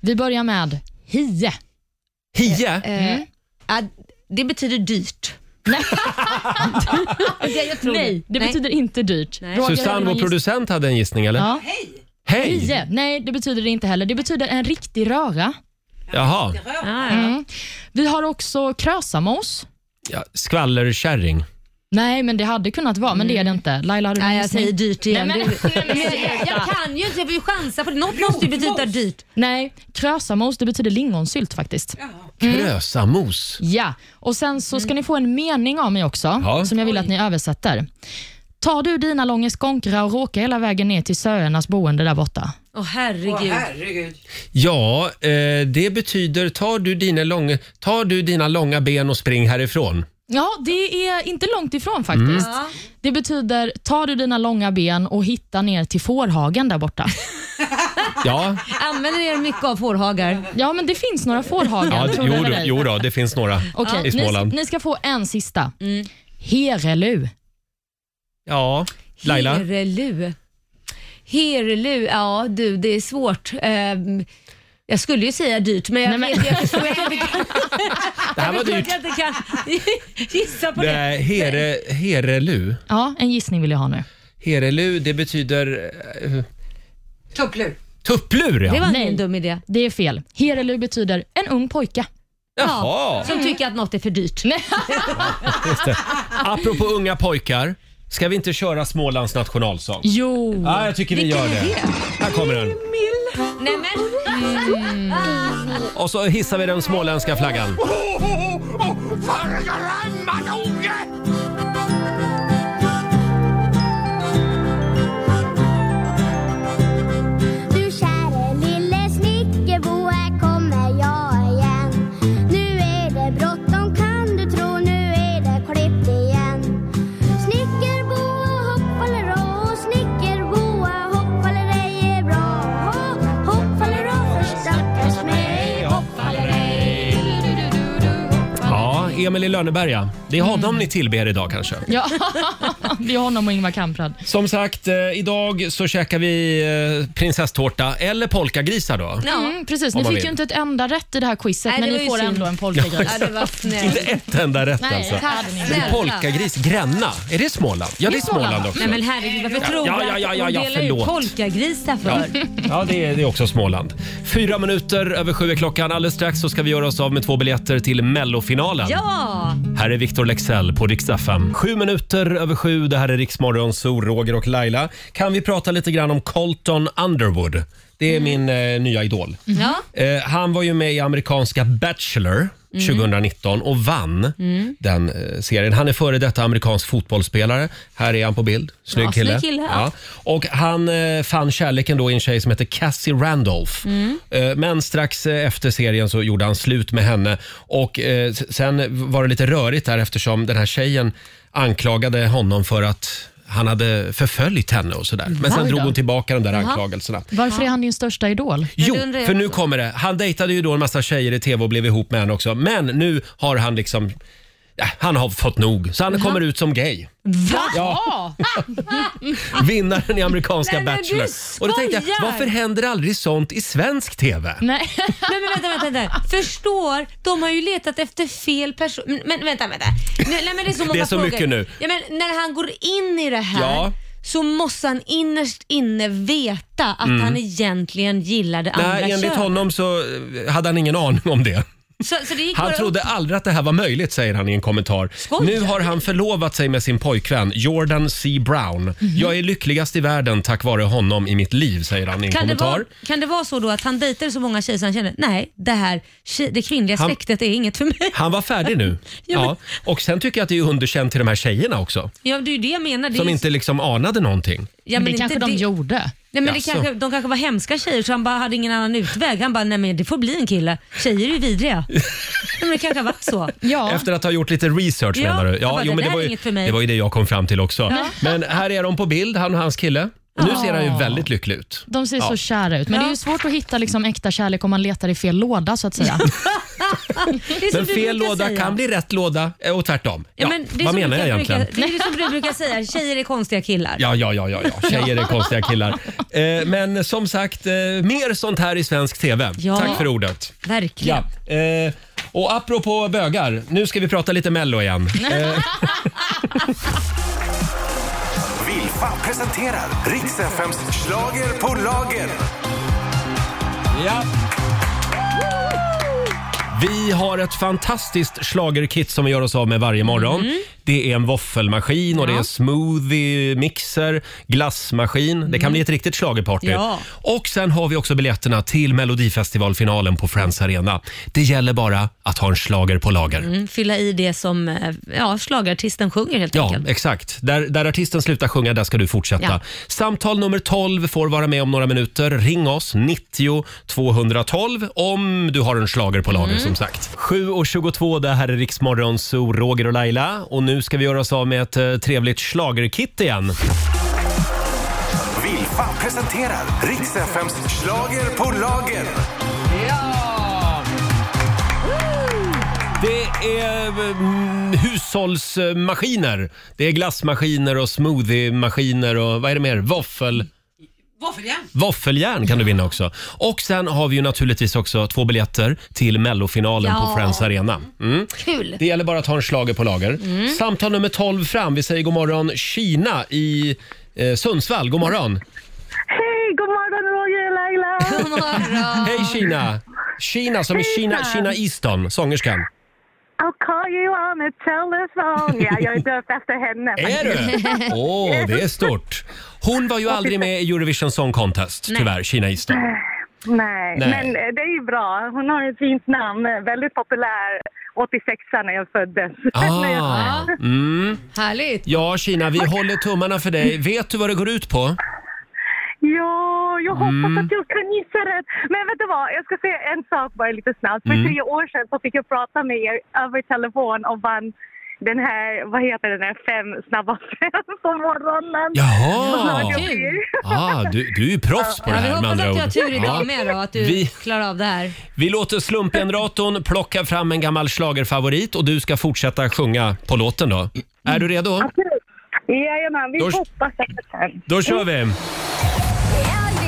S5: Vi börjar med hie.
S1: Hie?
S5: Eh,
S3: Ja, det betyder dyrt. Nej, jag tror
S5: Nej, det
S3: Nej.
S5: betyder inte dyrt.
S3: Nej.
S5: Roger, hade
S1: Susanne,
S5: du
S1: vår
S5: någon gissning?
S1: producent, hade en gissning eller?
S5: Ja.
S1: Hej!
S5: Hie. Nej, det betyder det inte heller. Det betyder en riktig röra.
S1: Jaha,
S3: Ah, ja.
S5: Mm. Vi har också krösamos.
S1: ja, skvallerkärring.
S5: Nej, men det hade kunnat vara, men det är det inte. Laila, har du någon
S3: Mm. Nej, jag
S5: gissning?
S3: säger dyrt igen.
S5: Nej, men-
S3: Du- jag, jag kan ju inte, jag vill ju chansa på det. Något måste ju betyda dyrt.
S5: Nej, krösamos det betyder lingonsylt faktiskt. Ja.
S1: Krösamos.
S5: Och Sen så ska ni få en mening av mig också,
S1: Ja.
S5: som jag vill att ni översätter. Tar du dina långe skonkra och råkar hela vägen ner till söernas boende där borta?
S3: Åh herregud.
S1: Ja, eh, det betyder tar du, dina långa, tar du dina långa ben och spring härifrån.
S5: Ja, det är inte långt ifrån faktiskt.
S3: Ja.
S5: Mm. Det betyder, tar du dina långa ben och hittar ner till fårhagen där borta?
S1: Ja,
S3: Använder er mycket av fårhagar?
S5: Ja, men det finns några fårhagar.
S1: ja
S5: tror
S1: jo,
S5: du
S1: då,
S5: eller ej?
S1: jo då, det finns några
S5: Okej,
S1: i Småland.
S5: ni, ni ska få en sista. Herelu.
S1: Ja, Laila?
S3: Herelu. Herelu, ja du det är svårt. Ehm, jag skulle ju säga dyrt men jag,
S5: Nej, men-
S3: Vet, jag förstår att jag inte kan,
S1: Det här var
S3: jag förstår
S1: dyrt.
S3: att jag inte kan gissa på det.
S1: Nej, here, herelu.
S5: Ja, en gissning vill jag ha nu.
S1: Herelu, det betyder... eh,
S8: Tupplur.
S1: Tupplur
S3: Det
S1: ja!
S3: var
S5: Nej.
S3: ingen dum idé.
S5: Det är fel. Herelu betyder en ung pojke.
S1: Jaha!
S3: Som tycker att något är för dyrt.
S1: Apropå unga pojkar, ska vi inte köra Smålands nationalsång?
S5: Jo.
S1: Ja, jag tycker vi gör det. Här kommer den.
S3: Nej men
S1: Och så hissar vi den småländska flaggan.
S9: Du käre lille snickerbo, här kommer jag igen. Nu är det bråttom kan du tro, nu är det klippt igen. Snickerbo hoppfaller och snickerbo hoppfaller ej är bra. Hoppfaller och förstackars mig, hoppfaller ej.
S1: Ja, Emil i Lönneberga. Det är honom ni tillber idag kanske.
S5: Ja, det är honom och Ingvar Kamprad.
S1: Som sagt, eh, idag så käkar vi eh, prinsesstårta eller polkagrisar då.
S5: Mm, precis.
S1: Om
S5: Ni
S1: man
S5: fick
S1: vill.
S5: ju inte ett enda rätt i det här quizet,
S3: Nej, det
S5: men
S3: var
S5: ni
S3: ju
S5: får
S3: synd. Alltså,
S5: ändå en polkagris.
S3: ja, det var snällt.
S1: Inte ett enda rätt
S5: Nej,
S1: alltså.
S5: det hade ni
S1: Det
S5: inte.
S1: är polkagris, Gränna. Är det Småland? Ja, det är Småland också.
S3: Nej men herregud varför tror du
S1: ja, ja, ja,
S3: att
S1: ja,
S3: de delar
S1: förlåt.
S3: ut polkagrisar för?
S1: Ja, ja det, är, det är också Småland. Fyra minuter över sju är klockan. Alldeles strax så ska vi göra oss av med två biljetter till Mellofinalen.
S3: Ja!
S1: Här är Victor Lexell på riksdag Sju minuter över sju. Det här är Riksmorgon, Zoo, Roger och Laila. Kan vi prata lite grann om Colton Underwood? Det är min eh, nya idol.
S3: Mm. ja.
S1: Eh, han var ju med i amerikanska Bachelor
S3: Mm.
S1: 2019 och vann den eh, serien. Han är före detta amerikansk fotbollsspelare. Här är han på bild. Snygg
S3: Ja,
S1: kille.
S3: snygg kille, ja.
S1: Och han eh, fann kärleken då i en tjej som heter Cassie Randolph.
S3: Mm.
S1: Eh, men strax eh, efter serien så gjorde han slut med henne. Och eh, s- Sen var det lite rörigt där eftersom den här tjejen anklagade honom för att han hade förföljt henne och sådär. Men sen
S5: Oj
S1: drog
S5: då.
S1: hon tillbaka de där
S3: Jaha.
S1: anklagelserna.
S5: Varför är han din största idol?
S1: Jo,
S3: det undrar jag
S1: för nu
S3: också.
S1: kommer det. Han dejtade ju då en massa tjejer i tv och blev ihop med henne också. Men nu har han liksom... ja, Han har fått nog, så han kommer ut som gay.
S5: Va?
S1: Vinnaren i amerikanska
S3: Nej, men du
S1: Bachelor. Och då tänkte
S3: skojar! Mm,
S1: jag, varför händer aldrig sånt i svensk tv?
S5: Nej.
S3: Men, men vänta, vänta, vänta. Förstår, de har ju letat efter fel person. Men, men vänta, vänta. Nu, nej, men det är så, många
S1: Det är så
S3: frågor.
S1: mycket nu.
S3: Ja, men när han går in i det här
S1: Ja.
S3: så måste han innerst inne veta att han egentligen gillar det andra
S1: Mm. Nej, enligt
S3: könet.
S1: honom så eh, hade han ingen aning om det.
S3: Så, så det gick
S1: Han
S3: bara
S1: trodde aldrig att det här var möjligt, säger han i en kommentar. Nu
S3: Skojar
S1: har han förlovat sig med sin pojkvän Jordan C. Brown.
S3: Mhm.
S1: Jag är lyckligast i världen tack vare honom i mitt liv, säger han i en
S3: Kan det,
S1: kommentar.
S3: vara, kan det vara så då att han dejtade så många tjejer så han kände nej, det här tje- det kvinnliga
S1: Han-
S3: släktet är inget för mig.
S1: Han var färdig nu.
S3: Ja, men-
S1: ja. Och sen tycker jag att det är underkänt till de här tjejerna också.
S3: Ja, det är ju det jag menar. Det är
S1: Som
S3: ju-
S1: inte liksom anade någonting.
S3: ja,
S5: men
S3: men
S5: det
S3: inte
S5: kanske de
S3: det-
S5: gjorde.
S3: Nej, men det
S1: Jaså.
S3: kanske, de kanske var hemska tjejer så han bara hade ingen annan utväg. Han bara, nej men det får bli en kille. Tjejer är ju vidriga. nej, men det kanske var så.
S5: Ja.
S1: Efter att ha gjort lite research
S3: Ja,
S1: menar du?
S3: jag bara, det
S1: men
S3: där
S1: var
S3: är
S1: ju,
S3: inget för mig.
S1: det var ju det jag kom fram till också. Men här är de på bild, han och hans kille. Nu ser han ju väldigt lycklig ut.
S5: De ser
S1: Ja.
S5: så kära ut, men det är ju svårt att hitta liksom äkta kärlek om man letar i fel låda så att säga.
S3: Det är som
S1: Men fel
S3: du brukar
S1: låda
S3: säga.
S1: kan bli rätt låda eh, och tvärtom. Ja,
S3: men det är
S1: vad
S3: som
S1: menar
S3: du
S1: jag egentligen?
S3: Brukar, det är ju som du brukar säga, tjejer är konstiga killar.
S1: Ja, ja, ja, ja, ja. Tjejer är konstiga killar. Eh, men som sagt, eh, mer sånt här i svensk TV.
S3: Ja.
S1: Tack för ordet.
S3: Verkligen.
S1: Ja. Eh, och apropå bögar, nu ska vi prata lite Mello igen. Eh,
S2: Vilfa presenterar riks fms schlager på lager.
S1: ja. Vi har ett fantastiskt schlagerkit som vi gör oss av med varje morgon.
S3: Mm.
S1: Det är en våffelmaskin och det är smoothie-mixer, glassmaskin. Det kan bli ett riktigt schlagerparty.
S3: Mm. Ja.
S1: Och sen har vi också biljetterna till Melodifestivalfinalen på Friends Arena. Det gäller bara att ha en schlager på lager.
S3: Mm, fylla i det som eh, ja, schlagartisten sjunger helt
S1: Ja,
S3: enkelt.
S1: exakt. Där, där artisten slutar sjunga, där ska du fortsätta.
S3: Ja.
S1: Samtal nummer 12 får vara med om några minuter. Ring oss, 90 212, om du har en schlager på lager
S3: Mm.
S1: som sagt. 7.22, det här är Riksmorgon, så Roger och Laila. Och nu ska vi göra oss av med ett eh, trevligt schlagerkit igen.
S2: Vilfa presenterar riks fms schlager på lager.
S1: Det är mm, hushållsmaskiner. Det är glassmaskiner och smoothiemaskiner och vad är det mer? Våffel...
S8: Våffeljärn.
S1: Våffeljärn kan du vinna också. Och sen har vi ju naturligtvis också två biljetter till mellofinalen på
S3: Ja.
S1: Friends Arena. Mm.
S3: Kul.
S1: Det gäller bara att ha en schlager på lager. Samtal nummer 12 fram. Vi säger god morgon Kina i eh, Sundsvall. God morgon.
S4: Hej, god morgon Roger och Laila!
S3: God morgon.
S1: Hej Kina! Kina som är Kina, Kina Easton, sångerskan.
S4: I'll call you on a telephone. Ja, jag är döpt efter henne.
S1: Är du? Åh, det är stort. Hon var ju aldrig med i Eurovision Song Contest, tyvärr, Kina Easton. Nej.
S4: Nej, men eh, det är ju bra. Hon har ju ett fint namn. eh, Väldigt populär. 86 när jag föddes. När jag-
S1: Ah, mm.
S3: Härligt.
S1: Ja, Kina, vi håller tummarna för dig. Vet du vad det går ut på?
S4: Ja, jag hoppas
S1: Mm.
S4: att jag kan gissa rätt. Men vet du vad, jag ska säga en sak bara lite snabbt. För
S1: Mm.
S4: tre år sedan så fick jag prata med er över telefon och vann den här, vad heter den här, fem snabba fem på morgonen.
S1: Jaha!
S3: Kul.
S1: Ah, du, du är ju proffs på det
S3: Ja, vi
S1: här med
S3: hoppas
S1: andra
S3: att
S1: ord.
S3: du har tur idag
S1: Ja.
S3: med då, att du
S1: Vi-
S3: klarar av det här.
S1: Vi låter slumpgeneratorn plocka fram en gammal schlagerfavorit och du ska fortsätta sjunga på låten då. Är du redo?
S4: Jajamän, vi
S1: Då-
S4: hoppas att det kan.
S1: Då kör vi!
S9: Jag ler,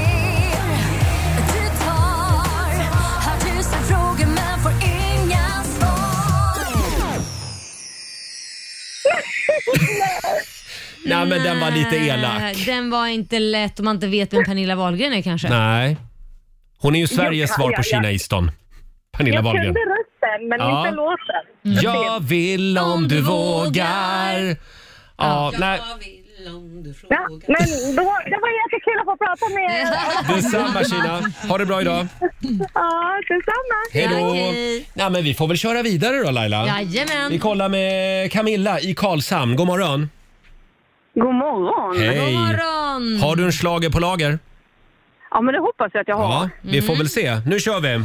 S9: du tar, har tusen frågor men får inga svar.
S1: Nej, men den var lite elak.
S3: Nej, Eh, Den var inte lätt om man inte vet vem Pernilla Wahlgren är kanske.
S1: Nej. Hon är ju Sveriges svar på
S4: jag-
S1: Kina Easton. Pernilla
S4: Jag
S1: Wahlgren.
S4: kunde rösten, men
S1: Ja. Mm.
S4: inte låten.
S1: Jag vill om du vågar. Ja, nej.
S8: Jag vill om du
S4: Ja,
S8: frågar.
S4: men då, det var jättekul att få prata med er.
S1: Detsamma Kina. Ha det bra idag.
S4: Ja, detsamma.
S1: Hej då.
S3: Tack, hej.
S1: Nej, men vi får väl köra vidare då Laila. Vi
S3: Jajamän.
S1: kollar med Camilla i Karlshamn. God morgon.
S4: God morgon.
S3: God
S1: Hej.
S3: morgon.
S1: Har du en slager på lager?
S4: Ja, men det hoppas jag att jag har.
S1: Ja, vi får väl se. Nu kör vi!
S2: And I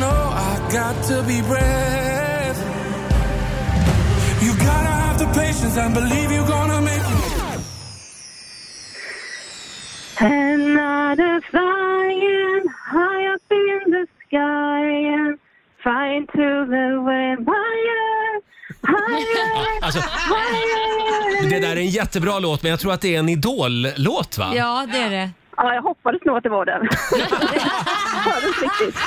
S2: know I got to be brave. You gotta have the patience and believe you're gonna make it.
S4: Flying to the wind, higher, higher,
S1: Alltså,
S4: higher.
S1: det där är en jättebra låt, men jag tror att det är en Idol-låt va?
S3: Ja, det är det.
S4: Ja, jag hoppades nog att det var den. Jag hördes riktigt.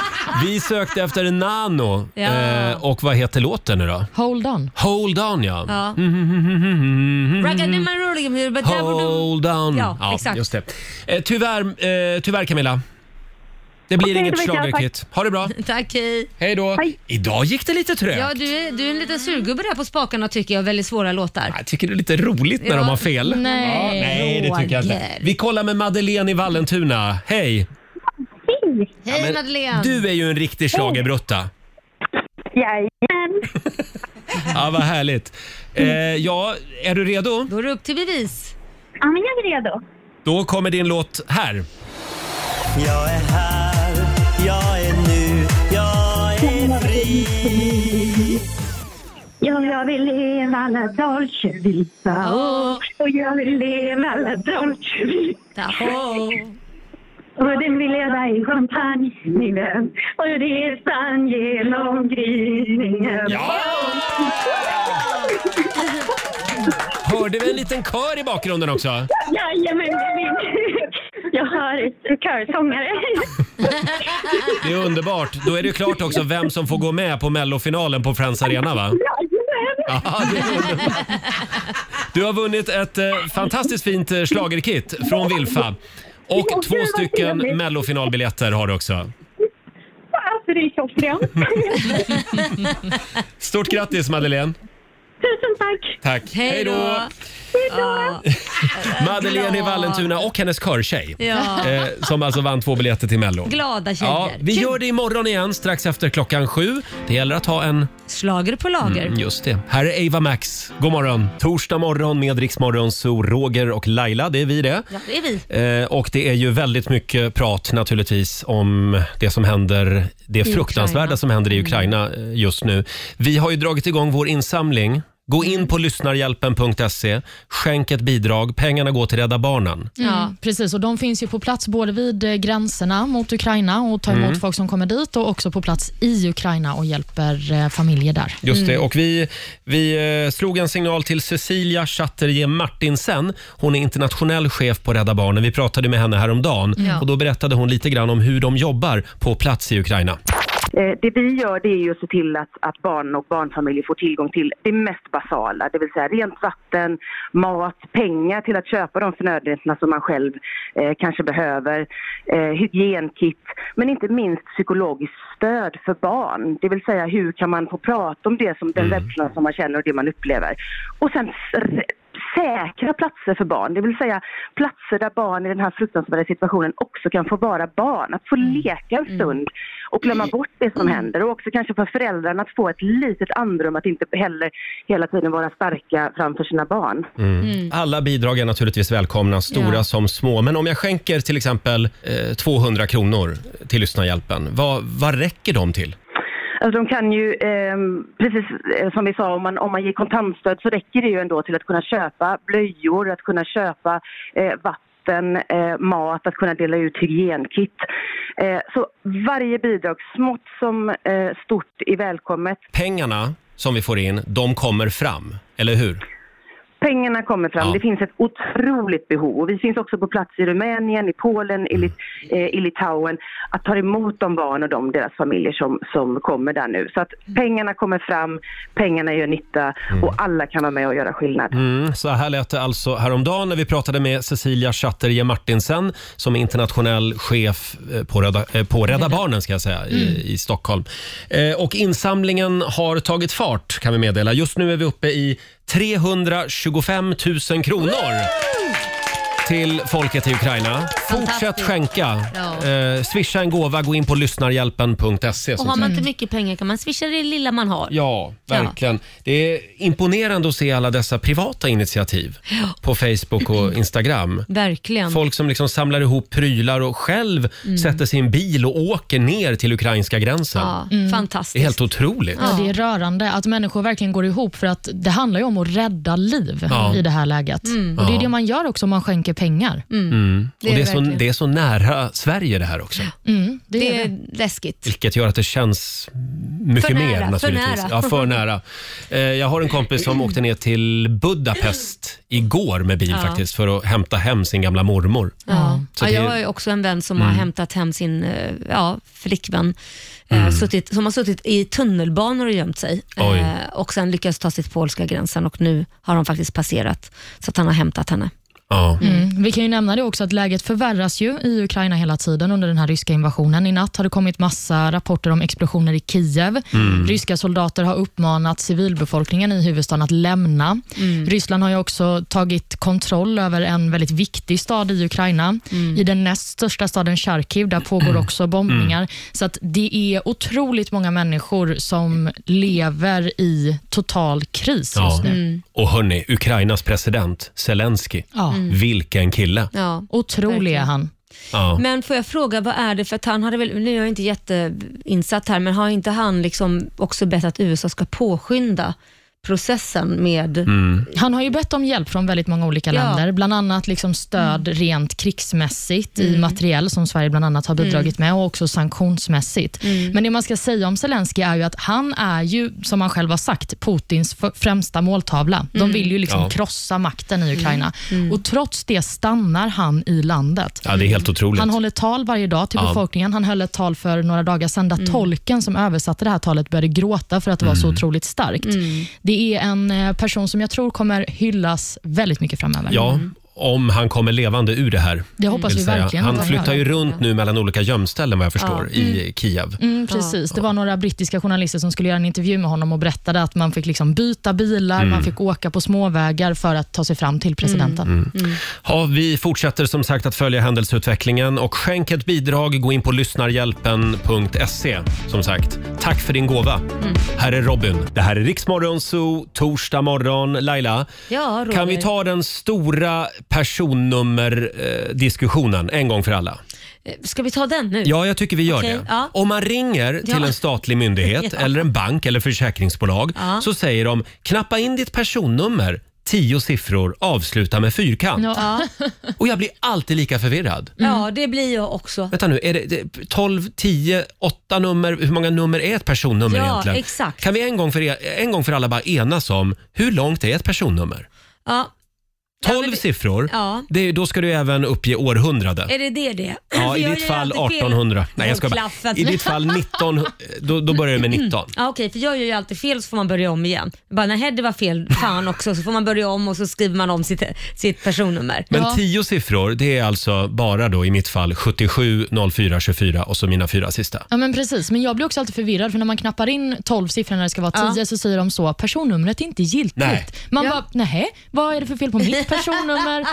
S1: Vi sökte efter Nano.
S3: Ja.
S1: Eh, och vad heter låten nu då?
S5: Hold on.
S1: Hold on ja. Mm,
S3: Ja. Raggadumarulligum, but där borde-
S1: Hold on.
S3: Ja, exakt.
S1: Just det. Eh, tyvärr, eh, tyvärr Camilla. Det blir
S4: Okej,
S1: inget
S4: då vet jag.
S1: schlagerkit. Ha det bra.
S3: Tack, hej.
S1: Hej då. Idag gick det lite trögt.
S3: Ja, du är, du är en liten surgubbe där på spakarna tycker jag. Väldigt svåra låtar.
S1: Jag tycker det är lite roligt när
S3: Ja.
S1: de har fel.
S5: Nej.
S1: Ja, nej, det tycker jag inte.
S3: Roger.
S1: Vi kollar med Madeleine i Vallentuna. Hej!
S3: Hej Madeleine.
S1: Du är ju en riktig schlagerbrutta.
S4: Jajamän.
S1: Ja, vad härligt. Eh, ja, är du redo?
S3: Då är det upp till bevis.
S4: Ja, men jag är redo.
S1: Då kommer din låt här.
S10: Jag är här, jag är nu, jag är fri.
S4: Ja, jag vill leva la dolce vita.
S3: Oh,
S4: Och jag vill leva la dolce vita.
S3: oh.
S4: Och den vill leda i champagnevinen. Och resan genom gryningen.
S1: Ja! Hörde vi en liten kör i bakgrunden också?
S4: Jajamän, det är min. Jag har en körsångare.
S1: Det är underbart. Då är det ju klart också vem som får gå med på mellofinalen på Friends Arena va?
S4: Jajamän!
S1: Ja, det är underbart. Du har vunnit ett eh, fantastiskt fint eh, schlagerkit från Wilfa. Och
S4: Åh, gud,
S1: två
S4: vad
S1: stycken
S4: trevligt.
S1: mellofinalbiljetter har du också.
S4: Alltså, det är klockrent.
S1: Stort grattis Madeleine!
S4: Tusen tack!
S1: Tack!
S3: Hej då.
S1: Madeleine i Vallentuna och hennes körtjej.
S3: Ja.
S1: Eh, som alltså vann två biljetter till Mello.
S3: Glada tjejer.
S1: Ja, vi gör det imorgon igen strax efter klockan sju. Det gäller att ha en...
S3: Slager på lager.
S1: Just det. Här är Ava Max. God morgon! Torsdag morgon med Rix Morgon, så Roger och Laila, det är vi det.
S3: Ja, det är vi.
S1: Eh, och det är ju väldigt mycket prat naturligtvis om det som händer, det fruktansvärda
S5: Ukraina.
S1: som händer i Ukraina eh, just nu. Vi har ju dragit igång vår insamling. Gå in på lyssnarhjälpen.se, skänk ett bidrag. Pengarna går till Rädda Barnen.
S5: Ja, Mm, precis. Och De finns ju på plats både vid eh, gränserna mot Ukraina och tar
S1: Mm.
S5: emot folk som kommer dit och också på plats i Ukraina och hjälper eh, familjer där.
S1: Just det. Och vi, vi eh, slog en signal till Cecilia Chatterje Martinsen. Hon är internationell chef på Rädda Barnen. Vi pratade med henne häromdagen och då berättade hon lite grann om hur de jobbar på plats i Ukraina.
S11: Eh, Det vi gör det är ju att se till att, att barn och barnfamiljer får tillgång till det mest basala, det vill säga rent vatten, mat, pengar till att köpa de förnödenheterna som man själv eh, kanske behöver, eh, hygienkit, men inte minst psykologiskt stöd för barn. Det vill säga hur kan man få prata om det som den rädslan som man känner och det man upplever. Och sen s- säkra platser för barn, det vill säga platser där barn i den här fruktansvärda situationen också kan få vara barn, att få leka en stund och glömma bort det som händer och också kanske för föräldrarna att få ett litet andrum att inte heller hela tiden vara starka framför sina barn.
S1: Mm. Alla bidrag är naturligtvis välkomna, stora
S5: Ja.
S1: som små. Men om jag skänker till exempel eh, 200 kronor till Lyssnarhjälpen, vad, vad räcker de till?
S11: Alltså de kan ju, ehm, precis eh, som vi sa, om man, om man ger kontantstöd så räcker det ju ändå till att kunna köpa blöjor, att kunna köpa eh, vatten, eh, mat, att kunna dela ut hygienkit. Eh, så varje bidrag, smått som eh, stort, är välkommet.
S1: Pengarna som vi får in, de kommer fram, eller hur?
S11: Pengarna kommer fram.
S1: Ja.
S11: Det finns ett otroligt behov. Och vi finns också på plats i Rumänien, i Polen, i, Lit- eh, i Litauen att ta emot de barn och de, deras familjer som, som kommer där nu. Så att pengarna kommer fram, pengarna gör nytta och alla kan vara med och göra skillnad.
S1: Mm, så här lät det alltså häromdagen när vi pratade med Cecilia Chatterje Martinsen som är internationell chef eh, på Rädda, eh, på Rädda
S3: Mm.
S1: Barnen ska jag säga, i, i Stockholm. Eh, och insamlingen har tagit fart kan vi meddela. Just nu är vi uppe i 325 000 kronor. till folket i Ukraina. Fortsätt
S3: Fantastiskt.
S1: skänka.
S3: Ja.
S1: Eh, swisha en gåva, gå in på lyssnarhjälpen.se.
S3: Och
S1: som
S3: har man inte mycket pengar kan man swisha det lilla man har.
S1: Ja, verkligen. Det är imponerande att se alla dessa privata initiativ på Facebook och Instagram.
S3: Mm. Verkligen.
S1: Folk som liksom samlar ihop prylar och själv
S3: Mm.
S1: sätter sin bil och åker ner till ukrainska gränsen.
S3: ja,
S1: Det är
S3: Fantastiskt.
S1: helt otroligt.
S5: Ja, det är rörande att människor verkligen går ihop för att det handlar ju om att rädda liv
S1: Ja.
S5: i det här läget. Och Det är
S1: Ja.
S3: Mm.
S5: det man gör också om man skänker pengar.
S1: Och det, är så,
S3: verkligen-
S1: det är så nära Sverige det här också.
S5: Mm, det
S3: det
S5: är det.
S3: är läskigt.
S1: Vilket gör att det känns mycket
S3: För nära,
S1: mer
S3: för
S1: naturligtvis.
S3: nära.
S1: Ja, för nära. Eh, Jag har en kompis som åkte ner till Budapest igår med bil faktiskt för att hämta hem sin gamla mormor.
S3: Ja.
S1: Så
S3: Ja,
S1: det- Mm.
S3: jag har ju också en vän som har hämtat hem sin eh, ja, flickvän eh, suttit, som har suttit i tunnelbanor och gömt sig
S1: Mm. Oj.
S3: Eh, och sen lyckats ta sig till polska gränsen och nu har de faktiskt passerat så att han har hämtat henne.
S1: Ja.
S5: Mm. Vi kan ju nämna det också att läget förvärras ju i Ukraina hela tiden under den här ryska invasionen. I natt har det kommit massa rapporter om explosioner i Kiev. Ryska soldater har uppmanat civilbefolkningen i huvudstaden att lämna.
S3: Mm.
S5: Ryssland har ju också tagit kontroll över en väldigt viktig stad i Ukraina.
S3: Mm.
S5: I den näst största staden Charkiv, där pågår också bombningar. Så att det är otroligt många människor som lever i total kris
S1: Ja.
S5: just
S3: Mm.
S5: nu.
S1: Och hörni, Ukrainas president Zelensky.
S5: Ja.
S1: Vilken kille!
S3: Ja.
S5: Otrolig är
S3: Verkligen.
S5: han.
S1: Ja.
S3: Men får jag fråga, vad är det för att han hade väl, nu är jag inte jätteinsatt här, men har inte han liksom också bett att USA ska påskynda processen med,
S1: Mm.
S5: Han har ju bett om hjälp från väldigt många olika
S3: Ja.
S5: länder, bland annat liksom stöd rent krigsmässigt i materiell som Sverige bland annat har bidragit med och också sanktionsmässigt. Men det man ska säga om Zelensky är ju att han är ju, som han själv har sagt, Putins f- främsta måltavla. De vill ju liksom
S1: Ja.
S5: krossa makten i Ukraina och trots det stannar han i landet.
S1: ja, det är helt otroligt.
S5: Han håller tal varje dag till
S1: Ja.
S5: befolkningen. Han höll ett tal för några dagar sedan där tolken som översatte det här talet började gråta för att det var
S1: Mm.
S5: så otroligt starkt. Det är en eh, person som jag tror kommer hyllas väldigt mycket framöver.
S1: Ja, om han kommer levande ur det här.
S5: Det hoppas
S1: vill
S5: vi
S1: säga.
S5: Mm. verkligen att
S1: Han
S5: han
S1: flyttar ju
S5: gör.
S1: runt nu mellan olika gömställen vad jag förstår i Kiev.
S5: Mm, precis. Det var några brittiska journalister som skulle göra en intervju med honom och berättade att man fick liksom byta bilar,
S1: Mm.
S5: man fick åka på småvägar för att ta sig fram till presidenten.
S1: Ja, vi fortsätter som sagt att följa händelseutvecklingen och skänk ett bidrag. Gå in på lyssnarhjälpen.se som sagt. Tack för din gåva.
S3: Mm.
S1: Här är Robin. Det här är Riksmorgon Zoo, torsdag morgon. Laila,
S3: ja Roger.
S1: kan vi ta den stora personnummer-diskussionen en gång för alla?
S3: Eh, Ska vi ta den nu?
S1: Ja, jag tycker vi gör
S3: Okej,
S1: det.
S3: ja.
S1: Om man ringer till
S3: Ja.
S1: en statlig myndighet eller en bank eller försäkringsbolag
S3: Ja.
S1: så säger de knappa in ditt personnummer, tio siffror, avsluta med fyrkant.
S5: Ja.
S3: Ja.
S1: Och jag blir alltid lika förvirrad.
S3: ja, det blir jag också.
S1: Vänta nu, är det, det 12, 10, 8 nummer? Hur många nummer är ett personnummer
S3: Ja,
S1: egentligen?
S3: exakt.
S1: Kan vi en gång, för, e- en gång för alla bara enas om hur långt är ett personnummer?
S3: Ja,
S1: 12
S3: men det-
S1: siffror,
S3: ja.
S1: det, är- då ska du även uppge århundrade.
S3: Är det det det?
S1: Ja,
S3: Vi
S1: i
S3: gör
S1: ditt
S3: ju
S1: fall
S3: alltid fel.
S1: 1800. Nej, jag ska bara.
S3: Klaffen.
S1: I ditt fall 19, då, då börjar det med 19.
S3: Ja, okej, för jag gör ju alltid fel så får man börja om igen. Bara, nej, det var fel. Fan också. Så får man börja om och så skriver man om sitt, sitt personnummer.
S1: Men
S5: Ja.
S1: 10 siffror, det är alltså bara då i mitt fall 77, 04, 24 och så mina fyra sista.
S5: Ja, men precis. Men jag blir också alltid förvirrad, för när man knappar in 12 siffror när det ska vara 10 så säger de så, personnumret är inte giltigt.
S1: Nej.
S5: Man bara, nej, vad är det för fel på mitt personnummer?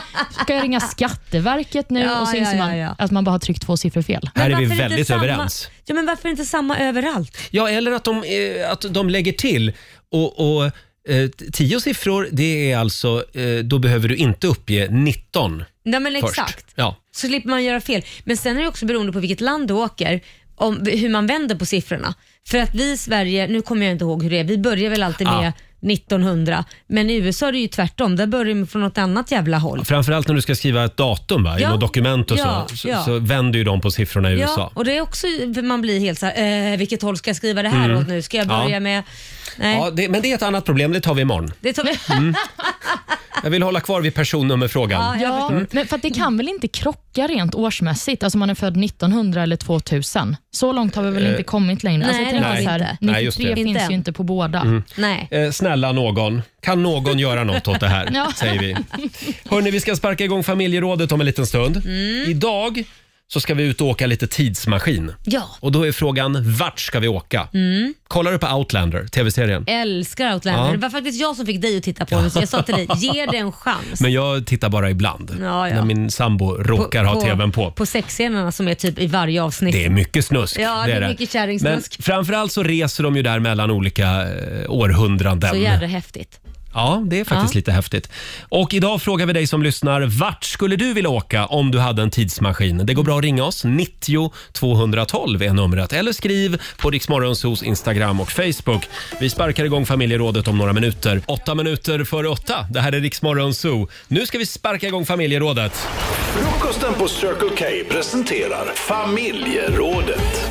S5: Ska jag ringa Skatteverket nu?
S3: Ja,
S5: och så
S3: ja,
S5: inser man
S3: ja, ja.
S5: att man bara har tryckt två siffror fel.
S1: Här är vi
S3: varför inte
S1: väldigt
S3: samma,
S1: överens.
S3: Ja, men varför inte samma överallt?
S1: Ja, eller att de, eh, att de lägger till. Och, och eh, tio siffror, det är alltså, eh, då behöver du inte uppge 19
S3: Nej, men
S1: först.
S3: exakt.
S1: Ja.
S3: Så slipper man göra fel. Men sen är det också beroende på vilket land du åker, om, hur man vänder på siffrorna. För att vi i Sverige, nu kommer jag inte ihåg hur det är, vi börjar väl alltid
S1: Ah.
S3: med 1900, men i USA är det ju tvärtom. Där börjar man från något annat jävla håll.
S1: Framförallt när du ska skriva ett datum va? i
S3: Ja.
S1: något dokument och
S3: Ja,
S1: så, så,
S3: ja.
S1: så vänder ju de på siffrorna i
S3: Ja,
S1: USA.
S3: och det är också, man blir helt så här, eh, vilket håll ska jag skriva det här åt nu? Ska jag börja
S1: Mm. Ja.
S3: med... Nej,
S1: Ja, det, men det är ett annat problem, det tar vi imorgon.
S3: det tar vi.
S1: Jag vill hålla kvar vid personnummerfrågan.
S3: Ja, jag
S5: Ja,
S3: förstår.
S5: men för att det kan väl inte krocka rent årsmässigt? Alltså man är född 1900 eller 2000. Så långt har vi väl inte kommit längre?
S3: nej,
S5: alltså jag tänker
S3: det har vi
S5: så här,
S3: inte.
S5: 93
S1: Eh, Nej, just det.
S5: finns
S3: Inte än.
S5: ju inte på båda.
S3: Nej.
S1: Eh, snälla någon, kan någon göra något åt det här?
S5: Ja.
S1: Säger vi. Hörni, vi ska sparka igång familjerådet om en liten stund.
S3: Mm.
S1: Idag så ska vi ut och åka lite tidsmaskin.
S3: Ja,
S1: Och då är frågan, vart ska vi åka? Kollar du på Outlander, tv-serien?
S3: älskar Outlander. Det var faktiskt jag som fick dig att titta på den, så jag sa till dig, ge det en chans.
S1: Men jag tittar bara ibland,
S3: Ja, ja.
S1: när min sambo råkar ha tvn på.
S3: På sexscenerna som är typ i varje avsnitt.
S1: Det är mycket snusk.
S3: Ja, det är mycket kärringsnusk.
S1: Men framförallt så reser de ju där mellan olika eh, århundraden.
S3: Så jävla häftigt.
S1: Ja, det är faktiskt
S5: Ja.
S1: lite häftigt. Och idag frågar vi dig som lyssnar, vart skulle du vilja åka om du hade en tidsmaskin? Det går bra att ringa oss, 90 212 är numret. Eller skriv på Riksmorgonsos Instagram och Facebook. Vi sparkar igång familjerådet om några minuter. Åtta minuter före åtta, det här är Riksmorgonso. Nu ska vi sparka igång familjerådet.
S2: Frukosten på Circle K presenterar Familjerådet.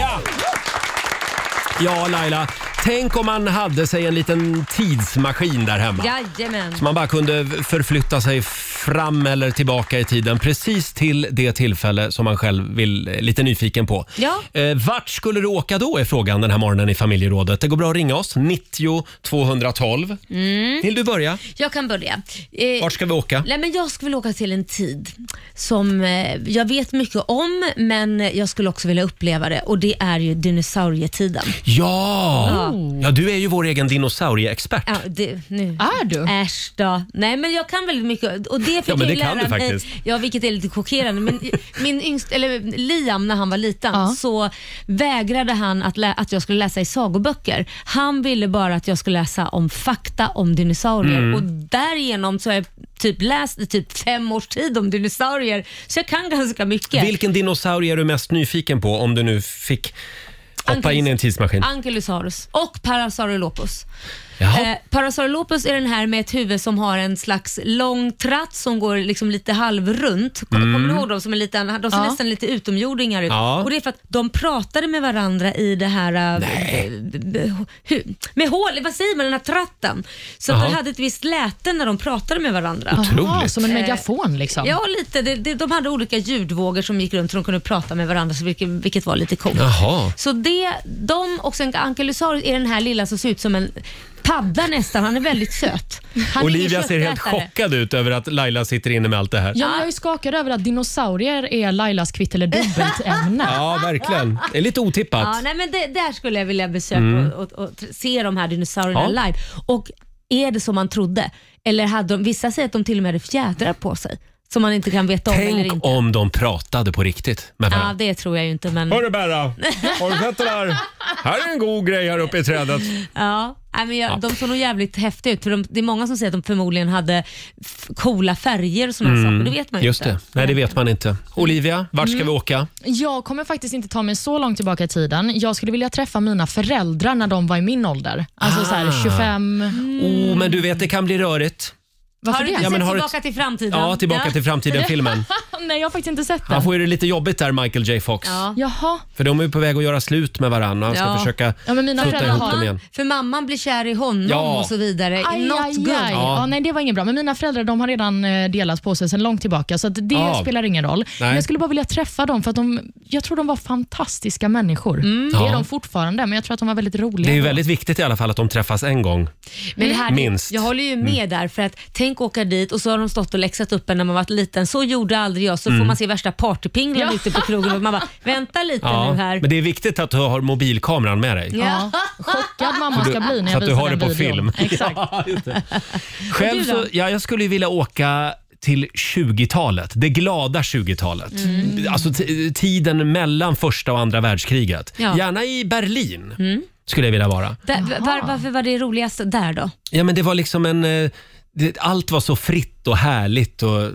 S1: Ja! Ja, Laila. Tänk om man hade sig en liten tidsmaskin där hemma.
S3: Jajamän.
S1: Så man bara kunde förflytta sig fram eller tillbaka i tiden precis till det tillfälle som man själv vill, är lite nyfiken på.
S3: Ja.
S1: Eh, vart skulle du åka då är frågan den här morgonen i familjerådet. Det går bra att ringa oss, 90 212.
S3: Mm.
S1: Vill du börja?
S3: Jag kan börja. Eh,
S1: Vart ska vi åka?
S3: Nej, men jag skulle vilja åka till en tid som eh, jag vet mycket om, men jag skulle också vilja uppleva det och det är ju dinosaurietiden.
S1: Ja! Ja, du är ju vår egen dinosaurieexpert.
S3: Ja, det, nu.
S5: Är du?
S3: Äsch då. Nej men jag kan väldigt mycket och det fick
S1: Ja, men
S3: jag ju
S1: det kan
S3: lära
S1: du
S3: mig.
S1: faktiskt.
S3: Ja vilket är lite chockerande men min yngst, eller Liam när han var liten
S5: Ja.
S3: så vägrade han att, lä- att jag skulle läsa i sagoböcker. Han ville bara att jag skulle läsa om fakta om dinosaurier
S1: Mm.
S3: och därigenom så har jag typ läst i typ fem års tid om dinosaurier så jag kan ganska mycket.
S1: Vilken dinosaurie är du mest nyfiken på om du nu fick hoppa
S3: Ankylos-
S1: in i en tidsmaskin?
S3: Ankylosaurus och Parasaurolopus.
S1: Jaha.
S3: Eh, Parasaurolopus är den här med ett huvud som har en slags lång tratt som går liksom lite halvrunt. Kom- Kommer du ihåg dem? Som är lite, de ser
S5: Ja.
S3: nästan lite utomjordingar ut.
S1: Mm. Ja.
S3: Och det är för att de pratade med varandra i det här... eh, b- b- hu- Med hål, vad säger man, den här tratten. Så att
S1: Jaha.
S3: de hade ett visst läte när de pratade med varandra.
S5: Jaha,
S1: Otroligt.
S5: som en megafon liksom.
S3: Eh, Ja, lite. De, de, de hade olika ljudvågor som gick runt så de kunde prata med varandra, så vilket, vilket var lite coolt.
S1: Jaha.
S3: Så det, de och sen Ankylosaurus är den här lilla som ser ut som en padda nästan. Han är väldigt söt. Han är ingen
S1: Olivia ser helt
S3: köttätare.
S1: chockad ut över att Laila sitter inne med allt det här.
S5: Ja, men jag är skakad över att dinosaurier är Lailas kvitt eller dubbelämne.
S1: Ja, verkligen. Det är lite otippat.
S3: Ja, nej, men det, där skulle jag vilja besöka och, och, och tr- se de här dinosaurierna
S1: Mm. Ja.
S3: live. Och är det som man trodde? Eller hade de, vissa säger att de till och med hade fjädrar på sig som man inte kan veta om eller
S1: Tänk
S3: inte.
S1: om de pratade på riktigt med
S3: Ja,
S1: varandra.
S3: det tror jag ju inte men...
S1: Hörru Berra, har du sett det där? Här är en god grej här uppe i trädet.
S3: Ja, nej, men jag, de såg nog jävligt häftiga ut. För de, det är många som säger att de förmodligen hade f- coola färger och sådana saker. Det vet man ju
S1: Mm. Just
S3: inte.
S1: det, nej det vet man inte. Olivia, vart ska vi åka?
S5: Jag kommer faktiskt inte ta mig så långt tillbaka i tiden. Jag skulle vilja träffa mina föräldrar när de var i min ålder. Alltså så
S1: Ah.
S5: här 25...
S1: Oh, men du vet det kan bli rörigt.
S5: Varför
S3: Har du inte
S5: det?
S1: Ja, men
S3: sett
S1: har du-
S3: Tillbaka till framtiden?
S1: Ja, tillbaka till framtiden-filmen.
S5: Nej, jag har faktiskt inte sett
S1: Han
S5: den.
S1: får ju det lite jobbigt där Michael J Fox.
S3: Ja.
S5: Jaha.
S1: För de är ju på väg att göra slut med varandra. Han ska
S3: Ja.
S1: försöka
S5: Ja, men mina
S1: putta
S5: föräldrar
S1: ihop
S5: har-
S1: dem igen.
S3: För mamman blir kär i honom
S1: Ja.
S3: och så vidare.
S5: Aj,
S3: Not
S5: aj,
S3: good.
S5: aj.
S1: Eh, Ja.
S5: Ja. nej, det var inget bra. Men mina föräldrar de har redan eh, delat på sig sedan långt tillbaka, så att det
S1: Ja.
S5: spelar ingen roll. Men jag skulle bara vilja träffa dem, för att de, jag tror de var fantastiska människor. Mm, Det är
S1: Mm. Ja.
S5: de fortfarande, men jag tror att de var väldigt roliga.
S1: Det är ju
S5: då.
S1: väldigt viktigt i alla fall att de träffas en gång.
S3: Men det här,
S1: Minst. Mm.
S3: Jag håller ju med där, för att tänk åka dit och så har de stått och läxat upp en när man var liten. Så gjorde aldrig jag. Så
S1: Mm.
S3: får man se värsta partypinglan ute på krogen och man bara, vänta lite
S1: Ja.
S3: nu här.
S1: Men det är viktigt att du har mobilkameran med dig.
S5: Ja. Chockad mamma ska bli när
S1: Så
S5: jag
S1: att du
S5: visar
S1: har det
S5: den
S1: på
S5: videon.
S1: film.
S5: Exakt.
S1: Ja, just det. Själv
S3: Och du
S1: så,
S3: då?
S1: ja, jag skulle ju vilja åka till 20-talet, det glada 20-talet.
S3: Mm.
S1: Alltså t- tiden mellan första och andra världskriget.
S3: Ja. Mm.
S1: Gärna i Berlin skulle jag vilja vara.
S3: Där- var, varför var det roligast där då?
S1: Ja, men det var liksom en... eh, Det, allt var så fritt och härligt. Och,
S3: På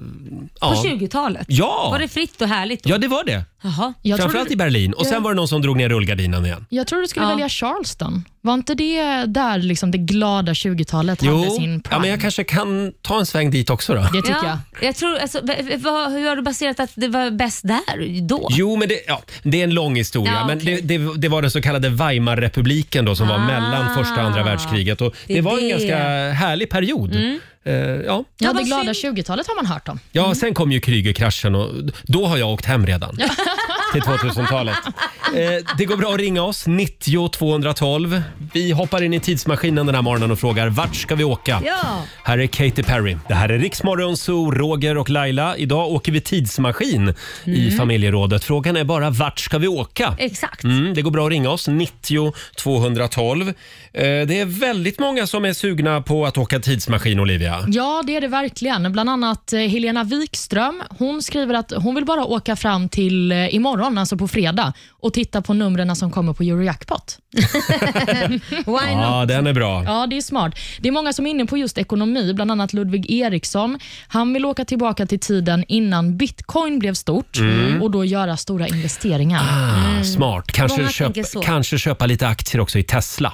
S1: ja.
S3: 20-talet?
S1: Ja.
S3: Var det fritt och härligt då?
S1: ja, det var det.
S3: Jaha.
S5: Jag tror,
S1: Framförallt i Berlin. Och sen var det någon som drog ner rullgardinen igen.
S5: jag tror du skulle
S3: Ja.
S5: välja Charleston. Var inte det där liksom det glada 20-talet hade sin prime?
S1: ja, men jag kanske kan ta en sväng dit också då.
S5: Det tycker jag.
S3: jag tror, alltså, v- v- vad, hur har du baserat att det var bäst där då?
S1: Jo, men det, ja, det är en lång historia.
S3: Ja,
S1: Men
S3: okej.
S1: det, det, det var den så kallade Weimarrepubliken då, som var
S3: Ah,
S1: mellan första och andra världskriget. Och det,
S3: det är
S1: var en
S3: det. Mm.
S1: ganska härlig period. Eh, ja.
S5: Ja,
S3: vad
S5: det glada
S3: synd.
S5: 20-talet har man hört om.
S1: ja, sen kom ju Krügerkraschen och då har jag åkt hem redan. till 2000-talet. Eh, det går bra att ringa oss, 90 212. Vi hoppar in i tidsmaskinen den här morgonen och frågar vart ska vi åka?
S3: Ja.
S1: Här är Katy Perry. Det här är Riksmorgon Zoo, Roger och Laila. Idag åker vi tidsmaskin i
S3: Mm.
S1: familjerådet. Frågan är bara vart ska vi åka?
S3: Exakt.
S1: Mm, det går bra att ringa oss, 90 212. Eh, det är väldigt många som är sugna på att åka tidsmaskin, Olivia.
S5: Ja, det är det verkligen. Bland annat eh, Helena Wikström. Hon skriver att hon vill bara åka fram till eh, imorgon, alltså på fredag, och titta på numren som kommer på Eurojackpot.
S3: Why not?
S1: Ja, den är bra.
S5: Ja, det är smart. Det är många som är inne på just ekonomi, bland annat Ludvig Eriksson. Han vill åka tillbaka till tiden innan bitcoin blev stort
S3: Mm.
S5: och då göra stora investeringar.
S1: Ah, Smart. Kanske
S3: Många
S1: köpa,
S3: tänker så. Mm.
S1: kanske köpa lite aktier också i Tesla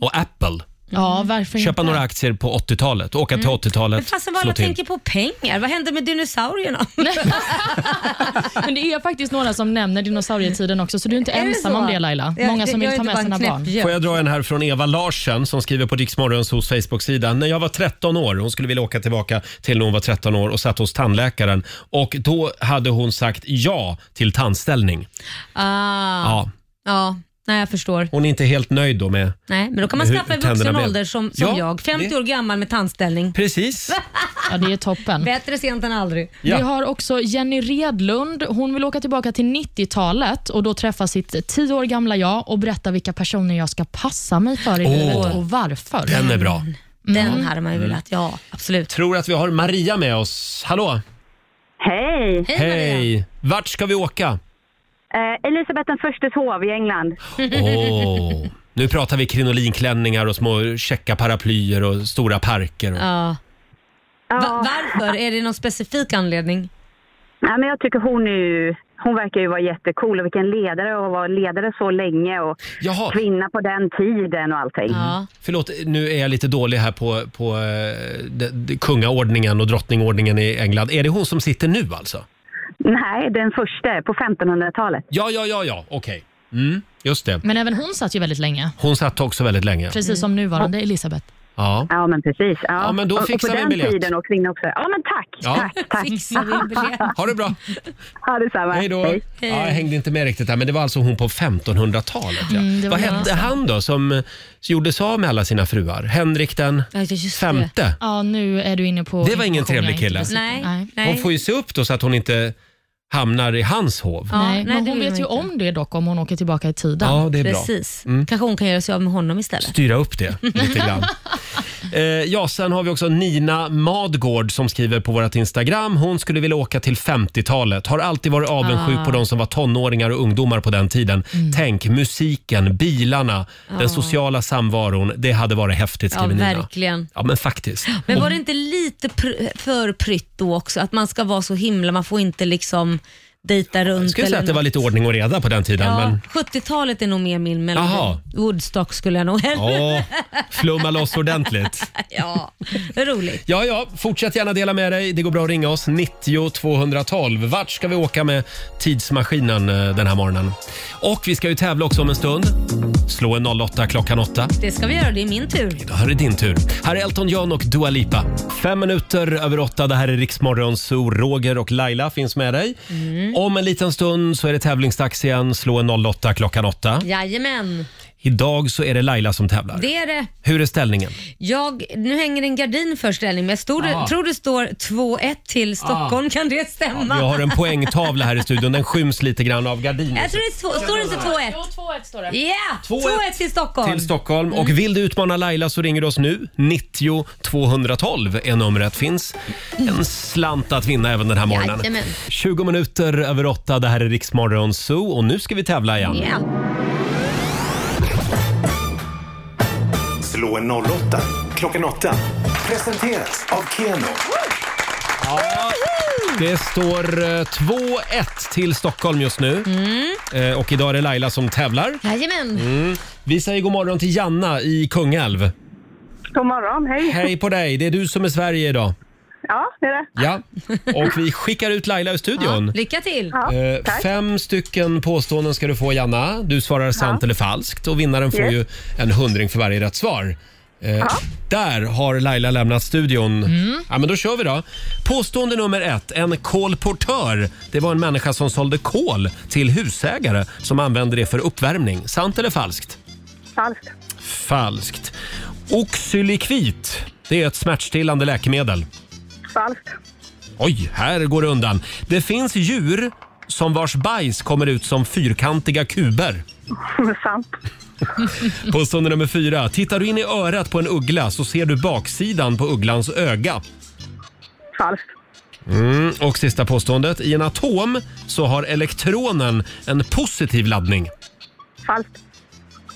S1: och Apple.
S5: Ja, varför
S1: Köpa
S5: inte?
S1: några aktier på 80-talet, åka till
S3: Mm. Men
S1: 80-talet,
S3: fasen
S1: slå
S3: vad alla
S1: till.
S3: tänker på pengar. Vad hände med dinosaurierna?
S5: Men det är faktiskt några som nämner dinosaurietiden också, så du är inte
S3: Är det
S5: ensam
S3: så?
S5: om det Laila.
S3: Jag-
S5: Många som
S3: jag
S5: vill ta
S3: är inte
S5: med
S3: bara en
S5: sina barn.
S3: knäppgök.
S1: Får jag dra en här från Eva Larsen som skriver på Riksmorgons hos Facebook-sida. När jag var 13 år, hon skulle vilja åka tillbaka till när hon var 13 år och satt hos tandläkaren och då hade hon sagt ja till tandställning.
S3: Ah, ja.
S1: Ja,
S3: nej jag förstår.
S1: hon är inte helt nöjd då med...
S3: Nej, men då kan man
S1: Hur-
S3: skaffa i
S1: tänderna
S3: vuxen
S1: blev.
S3: ålder som, som
S1: Ja,
S3: jag. 50
S1: det-
S3: år gammal med tandställning.
S1: Precis.
S5: Ja, det är toppen.
S3: Bättre sent än aldrig.
S1: Ja.
S5: Vi har också Jenny Redlund. Hon vill åka tillbaka till 90-talet och då träffa sitt 10 år gamla jag och berätta vilka personer jag ska passa mig för i
S1: Åh.
S5: livet och varför.
S1: Den är bra.
S5: Mm.
S3: Den hade
S1: Mm.
S3: man ju velat. Ja, absolut.
S1: Tror att vi har Maria med oss. Hallå!
S4: Hej!
S3: Hej, Maria.
S1: Hej! Vart ska vi åka?
S4: Eh, Elisabeth den förstes hov i England.
S1: Åh, Nu pratar vi krinolinklänningar och små käcka paraplyer och stora parker. Och...
S3: Ja. Va-
S4: Ja.
S3: varför? Är det någon specifik anledning?
S4: Nej, men jag tycker hon är ju, hon verkar ju vara jättecool och vilken ledare och vara ledare så länge och
S1: Jaha,
S4: kvinna på den tiden och allting.
S3: Ja.
S1: förlåt, nu är jag lite dålig här på, på eh, de, de, kungaordningen och drottningordningen i England. Är det hon som sitter nu alltså?
S4: Nej, den första på 1500-talet.
S1: Ja, ja, ja, ja, okej. Mm, just det.
S5: Men även hon satt ju väldigt länge,
S1: Hon satt också väldigt länge.
S5: precis som nuvarande Elisabeth.
S1: Ja.
S4: Ja, men precis. Ja,
S1: Ja, men då
S4: och, och
S1: fixar
S4: på
S1: vi en
S4: den
S1: biljett.
S4: tiden och kvinnor också. Ja, men tack.
S1: Ja.
S4: Tack, tack.
S3: Fixar vi en biljett?
S1: Ha det bra.
S4: Ja, detsamma.
S1: Hej då. Ja, jag hängde inte med riktigt där, men det var alltså hon på 1500-talet. Ja.
S5: Mm, det var
S1: Vad
S5: det.
S1: hette han då som gjorde sig av med alla sina fruar? Henrik den
S3: Ja, just det.
S1: femte?
S5: Ja, nu är du inne på...
S1: Det var ingen
S5: information jag
S1: trevlig
S5: inte
S1: kille.
S5: besitter.
S3: Nej,
S5: Nej.
S1: Hon
S3: nej.
S1: får ju se upp då så att hon inte hamnar i hans hov.
S3: Ja,
S5: Nej,
S3: nej,
S5: men
S3: det
S5: hon
S3: vill
S5: vet
S3: man
S5: ju
S3: inte.
S5: om det dock om hon åker tillbaka i tiden.
S1: Ja, det är bra. Mm.
S3: Precis. Kanske hon kan göra sig av med honom istället.
S1: Styra upp det lite grann. Eh, ja, sen har vi också Nina Madgård som skriver på vårt Instagram. Hon skulle vilja åka till 50-talet. Har alltid varit avundsjuk
S3: Ah.
S1: på de som var tonåringar och ungdomar på den tiden.
S3: Mm.
S1: Tänk musiken, bilarna, den sociala samvaron. Det hade varit häftigt
S3: Ah. Ja,
S1: skriver Nina.
S3: verkligen.
S1: Ja, men faktiskt.
S3: Men var det inte lite pr- för prytt då också? Att man ska vara så himla, man får inte liksom dejta runt.
S1: Jag skulle säga
S3: eller
S1: att det var
S3: något.
S1: lite ordning och reda på den tiden.
S3: Ja,
S1: Men...
S3: 70-talet är nog mer min melodi.
S1: Jaha.
S3: Woodstock skulle jag nog hellre...
S1: Åh, flumma loss ordentligt.
S3: Ja, vad roligt.
S1: Ja, ja, fortsätt gärna dela med dig. Det går bra att ringa oss 90 212. Vart ska vi åka med tidsmaskinen eh, den här morgonen? Och vi ska ju tävla också om en stund. Slå en 08 klockan 8.
S3: Det ska vi göra, det är min tur.
S1: Då är det din tur. Här är Elton John och Dua Lipa. Fem minuter över åtta. Det här är Riksmorgon Zoo. Roger och Laila finns med dig.
S3: Mm.
S1: Om en liten stund så är det tävlingsdags igen. Slå en 08 klockan 8.
S3: Jajamän,
S1: Idag så är det Laila som tävlar.
S3: det är det.
S1: Hur är ställningen?
S3: Jag, nu hänger en gardin för ställning, men jag stod,
S1: Ah.
S3: tror det står 2-1 till Stockholm. Kan det stämma?
S1: Jag Ah. har en poängtavla här i studion. Den skyms lite grann av gardinen.
S3: Jag tror det står, står det inte 2-1.
S5: står det.
S3: Ja! 2-1 till Stockholm.
S1: till Stockholm. Och vill du utmana Laila så ringer du oss nu. 90 212 är numret. Finns en slant att vinna även den här morgonen.
S3: Jajamän.
S1: 20 minuter över åtta. Det här är Riksmorgon Zoo och nu ska vi tävla igen.
S3: Ja.
S2: Slå en 08 klockan 8. Presenteras av Keno.
S1: Det står eh, 2-1 till Stockholm just nu. Eh, Och idag är det Laila som tävlar.
S3: Jajamän.
S1: Mm. Vi säger god morgon till Janna i Kungälv.
S4: God morgon, hej.
S1: Hej på dig, det är du som är Sverige idag.
S4: Ja, det är det.
S1: Ja. Och vi skickar ut Laila ur studion.
S3: Ja, lycka till.
S4: Ja,
S1: Eh,
S4: tack.
S1: Fem stycken påståenden ska du få, Janna. Du svarar sant eller falskt och vinnaren får
S4: Yes.
S1: ju en hundring för varje rätt svar. Eh, där har Laila lämnat studion.
S4: Mm.
S1: Ja, men då kör vi då. Påstående nummer ett. En kolportör. Det var en människa som sålde kol till husägare som använde det för uppvärmning. Sant eller falskt?
S4: Falskt.
S1: Falskt. Oxylikvit. Det är ett smärtstillande läkemedel.
S4: Falskt.
S1: Oj, här går det undan. Det finns djur som vars bajs kommer ut som fyrkantiga kuber.
S4: Sant.
S1: Påstående nummer fyra. Tittar du in i örat på en uggla så ser du baksidan på ugglans öga.
S4: Falskt.
S1: Mm, och sista påståendet. I en atom så har elektronen en positiv laddning.
S4: Falskt.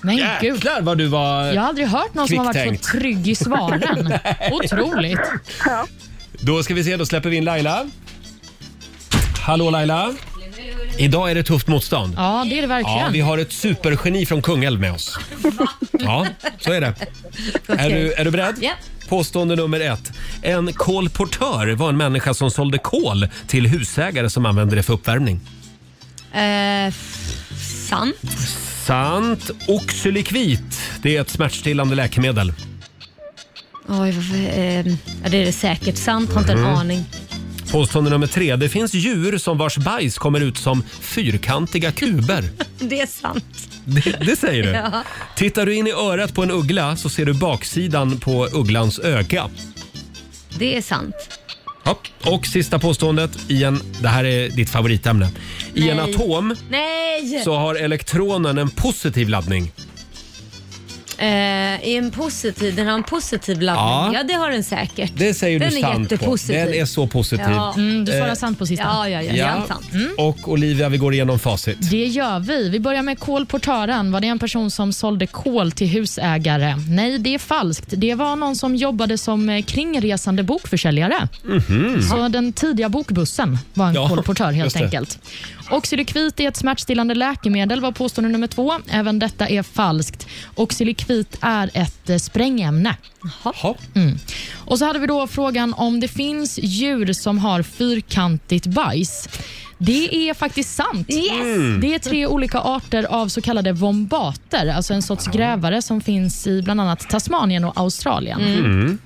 S5: Men gud.
S1: Jäklar vad du var...
S5: Jag har aldrig hört någon som har varit
S1: Kvicktänkt.
S5: så trygg i svaren. Otroligt.
S1: Då ska vi se, då släpper vi in Laila. Hallå Laila. Idag är det tufft motstånd.
S5: Ja, det är det
S1: Ja,
S5: verkligen.
S1: vi har ett supergeni från Kungälv med oss. Ja, så är det. Är du, är du beredd?
S3: Ja.
S1: Påstående nummer ett. En kolportör var en människa som sålde kol till husägare som använde det för uppvärmning.
S3: Eh, sant.
S1: Sant. Oxylikvit, det är ett smärtstillande läkemedel.
S3: Oj, varför, eh, ja, det är det säkert. Sant, har inte en
S1: Mhm.
S3: aning.
S1: Påstående nummer tre. Det finns djur som vars bajs kommer ut som fyrkantiga kuber.
S3: Det är sant.
S1: Det, det säger du?
S3: Ja.
S1: Tittar du in i örat på en uggla så ser du baksidan på ugglans öga.
S3: Det är sant.
S1: Ja. Och sista påståendet. I en, det här är ditt favoritämne. I en
S3: Nej.
S1: atom
S3: Nej!
S1: så har elektronen en positiv laddning.
S3: Eh, i en positiv, den har en positiv
S1: Ja.
S3: laddning. Ja, det har den säkert.
S1: Det säger
S3: den
S1: du
S3: är
S1: sant på.
S3: jättepositiv.
S1: Den är så positiv.
S3: Ja.
S5: Mm, du
S1: Eh,
S5: svarar sant på sista.
S3: Ja, ja, ja.
S1: Ja.
S3: ja. sant. Mm.
S1: Och Olivia, vi går igenom facit.
S5: Det gör vi. Vi börjar med kolportören. Var det en person som sålde kol till husägare? Nej, det är falskt. Det var någon som jobbade som eh, kringresande bokförsäljare. Så den tidiga bokbussen var en
S1: Mhm. Ja,
S5: kolportör helt
S1: just det.
S5: enkelt. Oxylikvit är ett smärtstillande läkemedel var påstående nummer två. Även detta är falskt. Oxylikvit är ett eh, sprängämne.
S1: Jaha.
S3: Mm.
S5: Och så hade vi då frågan om det finns djur som har fyrkantigt bajs. Det är faktiskt sant. Det är tre olika arter av så kallade vombater, alltså en sorts grävare som finns i bland annat Tasmanien och Australien.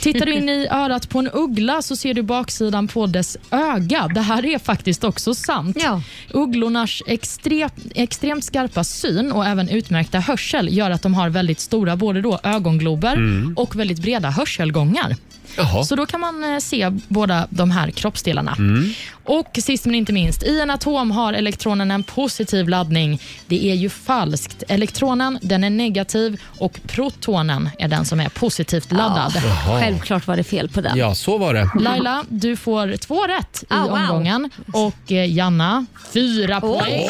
S5: Tittar du in i örat på en uggla så ser du baksidan på dess öga. Det här är faktiskt också sant.
S3: Ja.
S5: Ugglornas extre- extremt skarpa syn och även utmärkta hörsel gör att de har väldigt stora både då ögonglober och väldigt breda hörselgångar.
S1: Jaha.
S5: Så då kan man eh, se båda de här kroppsdelarna.
S1: Mm.
S5: Och sist men inte minst, i en atom har elektronen en positiv laddning. Det är ju falskt. Elektronen, den är negativ och protonen är den som är positivt laddad.
S1: Jaha.
S3: Självklart var det fel på den.
S1: Ja, så var det.
S5: Laila, du får två rätt i
S3: Ah, wow.
S5: omgången och eh, Janna, fyra poäng.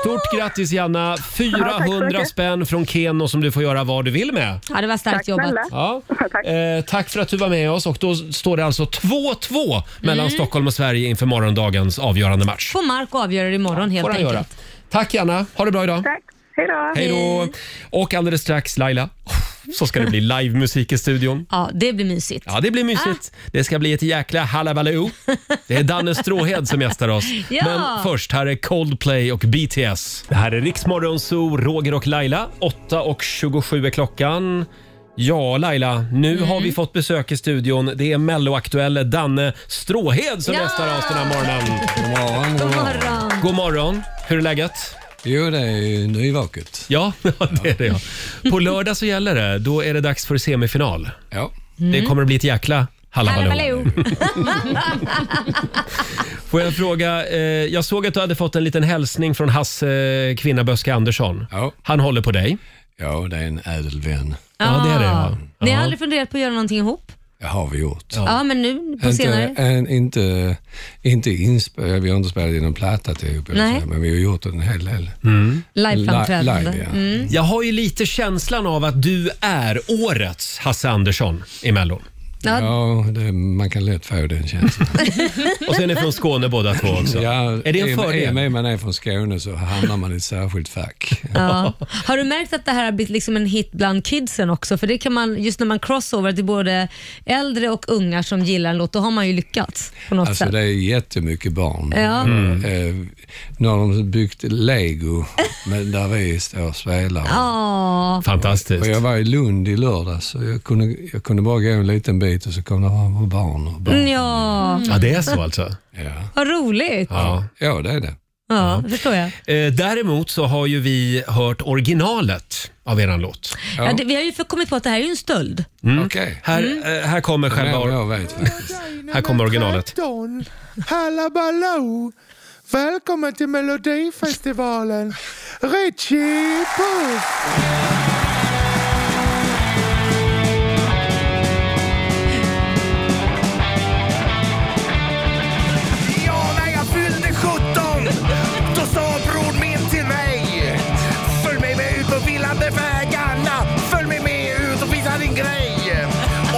S1: Stort grattis Janna! 400
S4: mycket.
S1: spänn från Keno som du får göra vad du vill med.
S3: Ja, det var starkt
S4: Tack
S3: jobbat.
S4: snälla.
S1: Ja.
S4: Tack.
S1: Eh, tack för att du var med oss och då står det alltså 2-2 mellan Stockholm och Sverige inför morgondagens avgörande match.
S3: Får Mark avgöra det imorgon helt
S1: Får han göra.
S3: enkelt.
S1: Tack Janna, ha det bra idag.
S4: Tack. Hej då.
S1: Hej då! Och alldeles strax Laila, Oh, så ska det bli livemusik i studion.
S3: Ja, det blir mysigt.
S1: Ja, det blir mysigt.
S3: Ah.
S1: Det ska bli ett jäkla halabaloo. Det är Danne Stråhed som gästar oss.
S3: Ja.
S1: Men först, här är Coldplay och BTS. Det här är Riksmorgon Zoo, Roger och Laila. 8.27 är klockan. Ja, Laila, nu har
S3: Mm.
S1: vi fått besök i studion. Det är Melloaktuelle Danne Stråhed som
S3: Ja.
S1: gästar oss den här morgonen.
S3: God morgon.
S1: God morgon, hur är läget?
S12: Jo, det är ju nyvaket.
S1: Ja, det är det. Ja. På lördag så gäller det. Då är det dags för semifinal.
S12: Ja.
S3: Mm.
S1: Det kommer att bli ett jäkla halabaloo.
S3: Hallå.
S1: Får jag fråga, eh, jag såg att du hade fått en liten hälsning från Hasse eh, Kvinnaböske Andersson.
S12: Ja.
S1: Han håller på dig.
S12: ja, det är en ädel vän.
S1: Ja, det är det. Ja.
S3: Ni har
S1: Ja.
S3: aldrig funderat på att göra någonting ihop?
S12: Det har vi gjort.
S3: Ja, men nu på
S12: Inte,
S3: senare.
S12: en, inte, inte insp- vi har inte spelat in en platta till ihop, eller
S3: Nej.
S12: så, men vi har gjort en hel del.
S3: Liveframträdande.
S12: Live, ja.
S3: Mm.
S1: Jag har ju lite känslan av att du är årets Hasse Andersson i Mellon.
S3: Ja.
S12: Ja, det, man kan lätt få den känslan.
S1: Och sen är från Skåne båda två också.
S12: Ja,
S1: är det en
S12: I och
S1: fördel?
S12: med man är från Skåne så hamnar man i ett särskilt fack.
S3: Ja. Har du märkt att det här har blivit liksom en hit bland kidsen också? För det kan man, just när man crossover till både äldre och unga som gillar en låt, då har man ju lyckats på något
S12: Alltså
S3: sätt.
S12: det är jättemycket barn.
S11: Mm.
S3: Ja.
S12: Eh, nu har de byggt lego men där vi står och spelar.
S3: Ja,
S12: Och
S1: Fantastiskt.
S12: jag var i Lund i lördags så jag kunde, jag kunde bara gå en liten bit och så kom det bara barn och barn.
S3: ja.
S1: Ja, det är så alltså.
S12: Ja.
S3: vad roligt. Ja,
S1: Ja.
S12: ja, det är det.
S3: det förstår jag.
S1: Eh, däremot så har ju vi hört originalet av eran låt.
S12: Ja.
S3: Ja, det, vi har ju kommit på att det här är ju en stöld.
S12: Okej.
S1: Här, eh, Mm. här kommer
S12: Det är
S1: själva...
S12: vad
S1: Or-
S12: jag vet faktiskt.
S1: här kommer originalet.
S7: Hallabaloo! Välkommen till Melodifestivalen! Richie Puss!
S2: Ja, när jag fyllde 17 Då sa bror min till mig Följ med mig ut på villande vägarna Följ med mig ut och visa din grej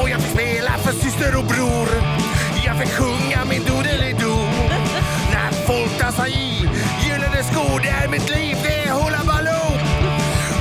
S2: Och jag fick spela för syster och bror Jag fick sjunga min doodelido När folk dansar i Gyllene skor, det är mitt liv Det är hullabaloo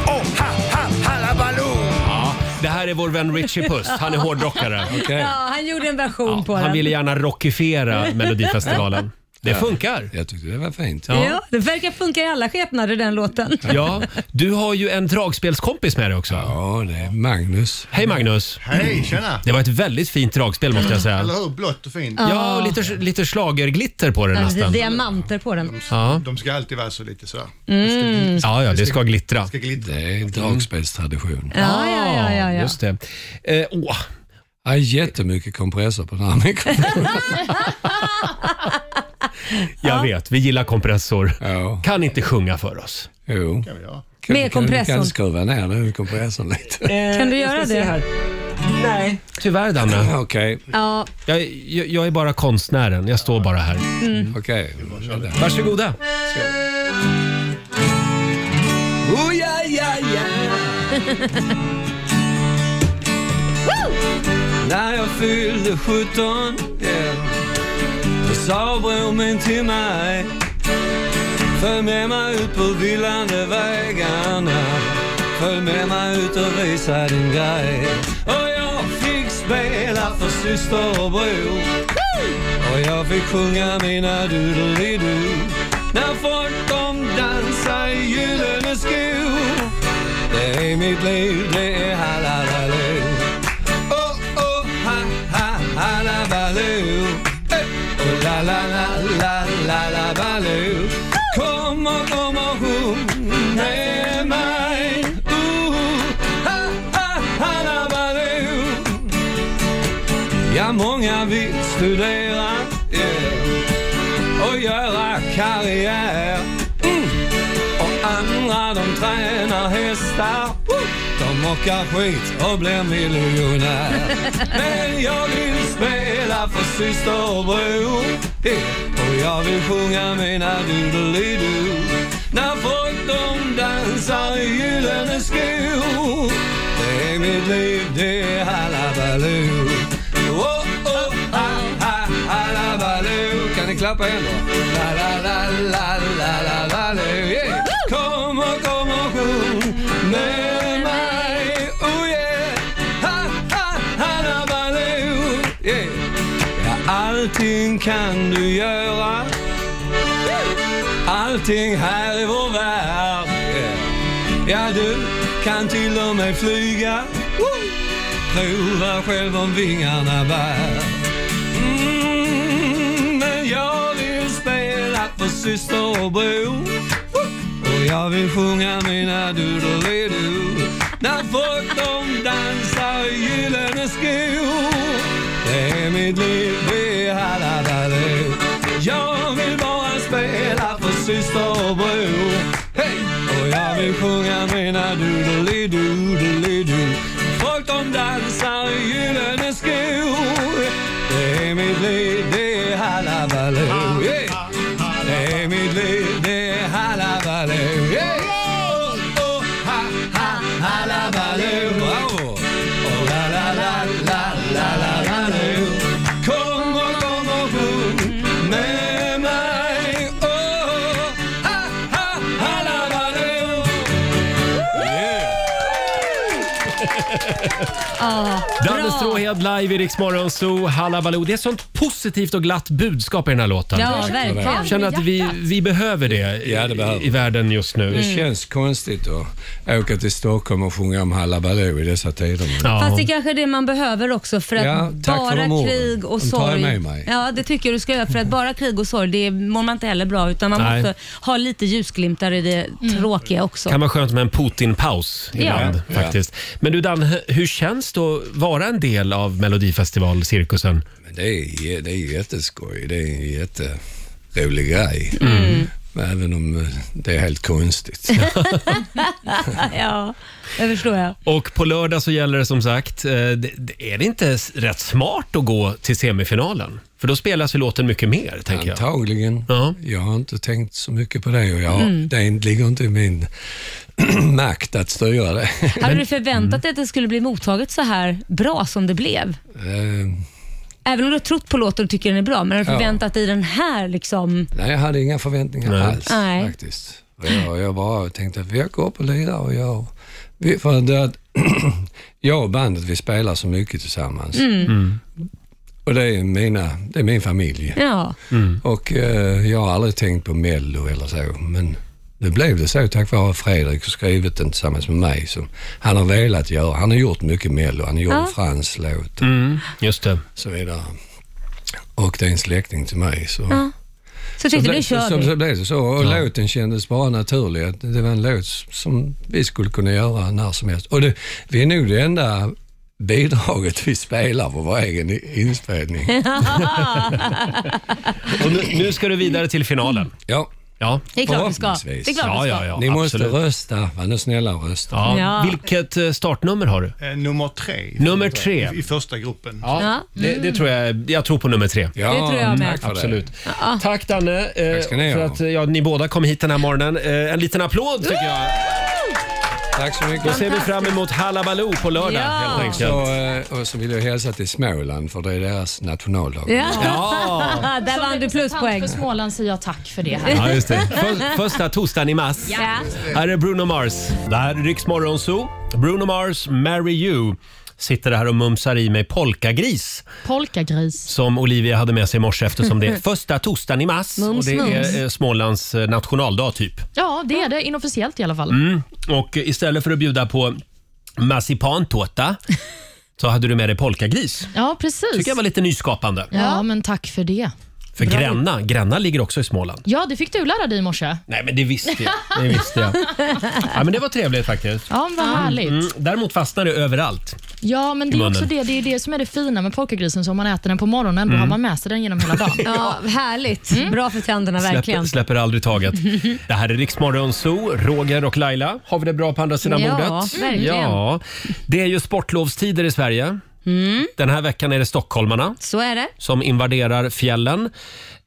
S2: Oh, ha, ha, hallabaloo
S1: Ja, det här är vår vän Richie Puss. Han är hårdrockare.
S12: Okej.
S3: Ja, han gjorde en version på
S1: Han
S3: den.
S1: ville gärna rockifiera Melodifestivalen. Det funkar.
S12: Jag tyckte det var fint.
S1: Ja.
S3: Ja, det verkar funka i alla skepnader den låten.
S1: Ja, du har ju en dragspelskompis med dig också.
S12: Ja, det är Magnus.
S1: Hej Magnus!
S2: Hej, tjena!
S1: Det var ett väldigt fint dragspel måste jag säga.
S2: hur? Blått och fint.
S1: Ja, och lite, lite slagerglitter på det
S3: Ja, det är
S1: nästan.
S3: diamanter på den.
S1: Ja,
S2: De ska alltid vara så lite sådär.
S1: ja, ja det ska glittra.
S2: glittra.
S12: Det är dragspelstradition.
S3: Ja, ja, ja, ja, ja.
S1: Just det. Eh, åh.
S12: Jag har jättemycket kompressor på den här mikrofonen.
S1: Jag vet, vi gillar kompressor.
S12: Ja,
S1: Kan inte sjunga för oss.
S12: jo. Kan,
S3: Med
S12: Kan,
S3: kompressorn. Eh.
S12: kan skruva ner nu kompressorn lite.
S3: Kan du göra det?
S1: Nej. Tyvärr Danne.
S12: Okej,
S3: Ja,
S1: Jag, jag, jag är bara konstnären. Jag står bara här.
S12: Mm.
S1: Mm.
S12: okej. Det där.
S1: Varsågoda.
S12: Oh, ja, ja, ja. När jag fyllde 17 yeah, Då sa bror min till mig Följ med mig ut på villande vägarna Följ med mig ut och visa din grej Och jag fick spela för syster och bror och jag fick sjunga mina doodelido När folk de dansar i gyllene skor Det är mitt liv, det är hallabaloo Oh, oh, ha, ha, hallabaloo Eh, Oh, la, la, la, la, la, la, baloo Kom och, kom och sjung med mig Ooh, ha, ha, hallabaloo Ja, många vill studera yeah, och göra karriär. Mm. Och andra de tränar hästar. Woo! De åker skit och blir miljonär. Men jag vill spela för syster och bror. Yeah. Och jag vill sjunga mina doodelido. När folk de dansar i gyllene skor. Det är mitt liv, det är hallabaloo. Oh, oh, ha, ha, hallabaloo. Kan ni klappa igen då? La, la, la, la, la, la, la, la, yeah. Kom och kom och sjung med mig. Oh yeah. Ha, ha, hallabaloo. Yeah. Ja, allting kan du göra. Allting här i vår värld. Yeah. Ja, du kan till och med flyga. Woo! Prova själv om vingarna bär. Mm, men jag vill spela för syster och bror. Woo! Och jag vill sjunga mina doodelido. När folk de dansar i gyllene skor. Det är mitt liv, det är hallabaloo. Jag vill bara spela för syster och bror. Hej! Och jag vill sjunga mina doodelidoodelido. Folk de dansar i gyllene skor. Det är mitt liv, det är hallabaloo. Yeah. Det är mitt liv, det är hallabaloo. Yeah. Oh, oh, ha, ha, hallabaloo. Bravo! Oh, la, la, la, la, la, la, la,
S1: Danne Stråhed live i Rix Morgon Zoo, Hallabaloo. Det är sånt positivt och glatt budskap i den här låten.
S3: Ja,
S1: Jag
S3: verkligen.
S1: känner att vi, vi behöver det, i-
S13: Ja, det behöver vi.
S1: i världen just nu.
S3: Mm.
S13: Det känns konstigt att åka till Stockholm och sjunga om Hallabaloo i dessa tider.
S1: Ja.
S3: Fast det är kanske är det man behöver också för att
S13: Ja, tack för
S3: bara
S13: de orden.
S3: krig och
S13: De tar jag
S3: sorg.
S13: med mig.
S3: Ja, det tycker jag du ska göra. För att bara krig och sorg, det mår man inte heller bra utan man
S1: Nej.
S3: måste ha lite ljusglimtar i det tråkiga också.
S1: kan vara skönt med en Putin-paus ibland
S13: Ja.
S1: faktiskt. Men du Dan, h- hur känns det att vara en del av Melodifestivalcirkusen?
S13: Men det är, det är jätteskoj. Det är en jätterolig grej. Men Även om eh, det är helt konstigt.
S3: Ja, det förstår jag.
S1: Och på lördag så gäller det som sagt, eh, det- det- är det inte s- rätt smart att gå till semifinalen? För då spelas ju låten mycket mer, tänker jag.
S13: Antagligen.
S1: Ja. Mm.
S13: Jag har inte tänkt så mycket på det och jag, det ligger inte i min makt att styra det.
S3: Hade du förväntat dig att det skulle bli mottaget så här bra som det blev?
S13: Eh,
S3: Även om du har trott på låten och tycker den är bra, men har du
S13: Ja.
S3: förväntat dig den här liksom?
S13: Nej, jag hade inga förväntningar
S1: Nej.
S13: alls
S3: Nej.
S13: faktiskt. Och Jag, jag bara tänkte att jag går upp och lirar och jag... Vi, för det, att jag och bandet, vi spelar så mycket tillsammans.
S1: Mm.
S13: Och det är, mina, det är min familj.
S3: Ja.
S13: Och eh, jag har aldrig tänkt på Mello eller så, men det blev det så tack vare Fredrik som skrivit den tillsammans med mig. Som han har velat göra. Han har gjort mycket Mello. Han gjorde Frans låt och
S1: Mm, just det.
S13: så vidare. Och det är en släkting till mig. Så.
S3: Så
S13: Så
S3: tänkte du,
S13: blev-
S3: nu
S13: så,
S3: kör
S13: så,
S3: vi.
S13: så blev det så. Och låten kändes bara naturlig. att Det var en låt som vi skulle kunna göra när som helst. Och det, vi är nog det enda bidraget vi spelar på vår egen i- inspelning.
S1: Och nu, nu ska du vidare till finalen.
S13: Ja,
S1: Ja.
S3: Det är klart du ska. Det är
S13: Förhoppningsvis.
S3: klart du ska.
S1: Ja, ja, ja.
S13: ni måste
S1: absolut.
S13: rösta. Var nu snälla och rösta.
S1: Ja.
S3: Ja.
S1: Vilket eh, startnummer har du?
S2: Nummer tre.
S1: Nummer tre.
S2: I första gruppen.
S1: Ja, det, det tror jag. Jag tror på nummer tre.
S13: Ja,
S3: Det tror jag med.
S13: tack för
S1: Absolut. Tack Danne eh,
S13: Tack ska ni
S1: för
S13: ha.
S1: att eh, ja, ni båda kom hit den här morgonen. Eh, en liten applåd tycker jag.
S13: Det. Tack så
S1: Då
S13: mycket.
S1: ser vi fram emot Hallabaloo på lördag
S3: Ja.
S1: helt enkelt.
S13: Så, eh, och så vill jag hälsa till Småland för det är deras nationaldag.
S3: Ja.
S1: Ja,
S3: Där vann du
S5: Representant
S3: pluspoäng.
S5: för Småland säger jag tack för det här.
S1: ja just det. För, första torsdagen i mars.
S3: Ja.
S1: Här är Bruno Mars. Det här är Rix Morgon Zoo. Bruno Mars, Marry You. Sitter här och mumsar i mig polkagris
S5: Polkagris.
S1: som Olivia hade med sig i morse eftersom det är första torsdagen i mars och
S3: Mums,
S1: det
S3: mums.
S1: är eh, Smålands eh, nationaldag typ.
S5: Ja, det är det inofficiellt i alla fall.
S1: Mm. Och istället för att bjuda på marsipantårta så hade du med dig polkagris.
S5: Ja, precis.
S1: tycker jag var lite nyskapande.
S5: Ja, men tack för det.
S1: För Gränna, Gränna ligger också i Småland.
S5: Ja, det fick du lära dig i morse.
S1: Nej, men det visste jag. Det visste jag. Ja, men det var trevligt faktiskt.
S5: Ja, vad härligt.
S1: Mm, däremot fastnar det överallt.
S5: Ja, men det är
S1: munnen.
S5: också det. Det är det som är det fina med polkagrisen. Så om man äter den på morgonen, då har man med sig den genom hela dagen.
S3: Ja, härligt. Bra för tänderna
S1: Släpper,
S3: verkligen.
S1: släpper aldrig taget. Det här är Riksmorgon Zoo, Roger och Laila. Har vi det bra på andra sidan
S3: Ja,
S1: bordet?
S3: verkligen.
S1: Ja, Det är ju sportlovstider i Sverige.
S3: Mm.
S1: Den här veckan är det stockholmarna
S3: Så är det.
S1: som invaderar fjällen.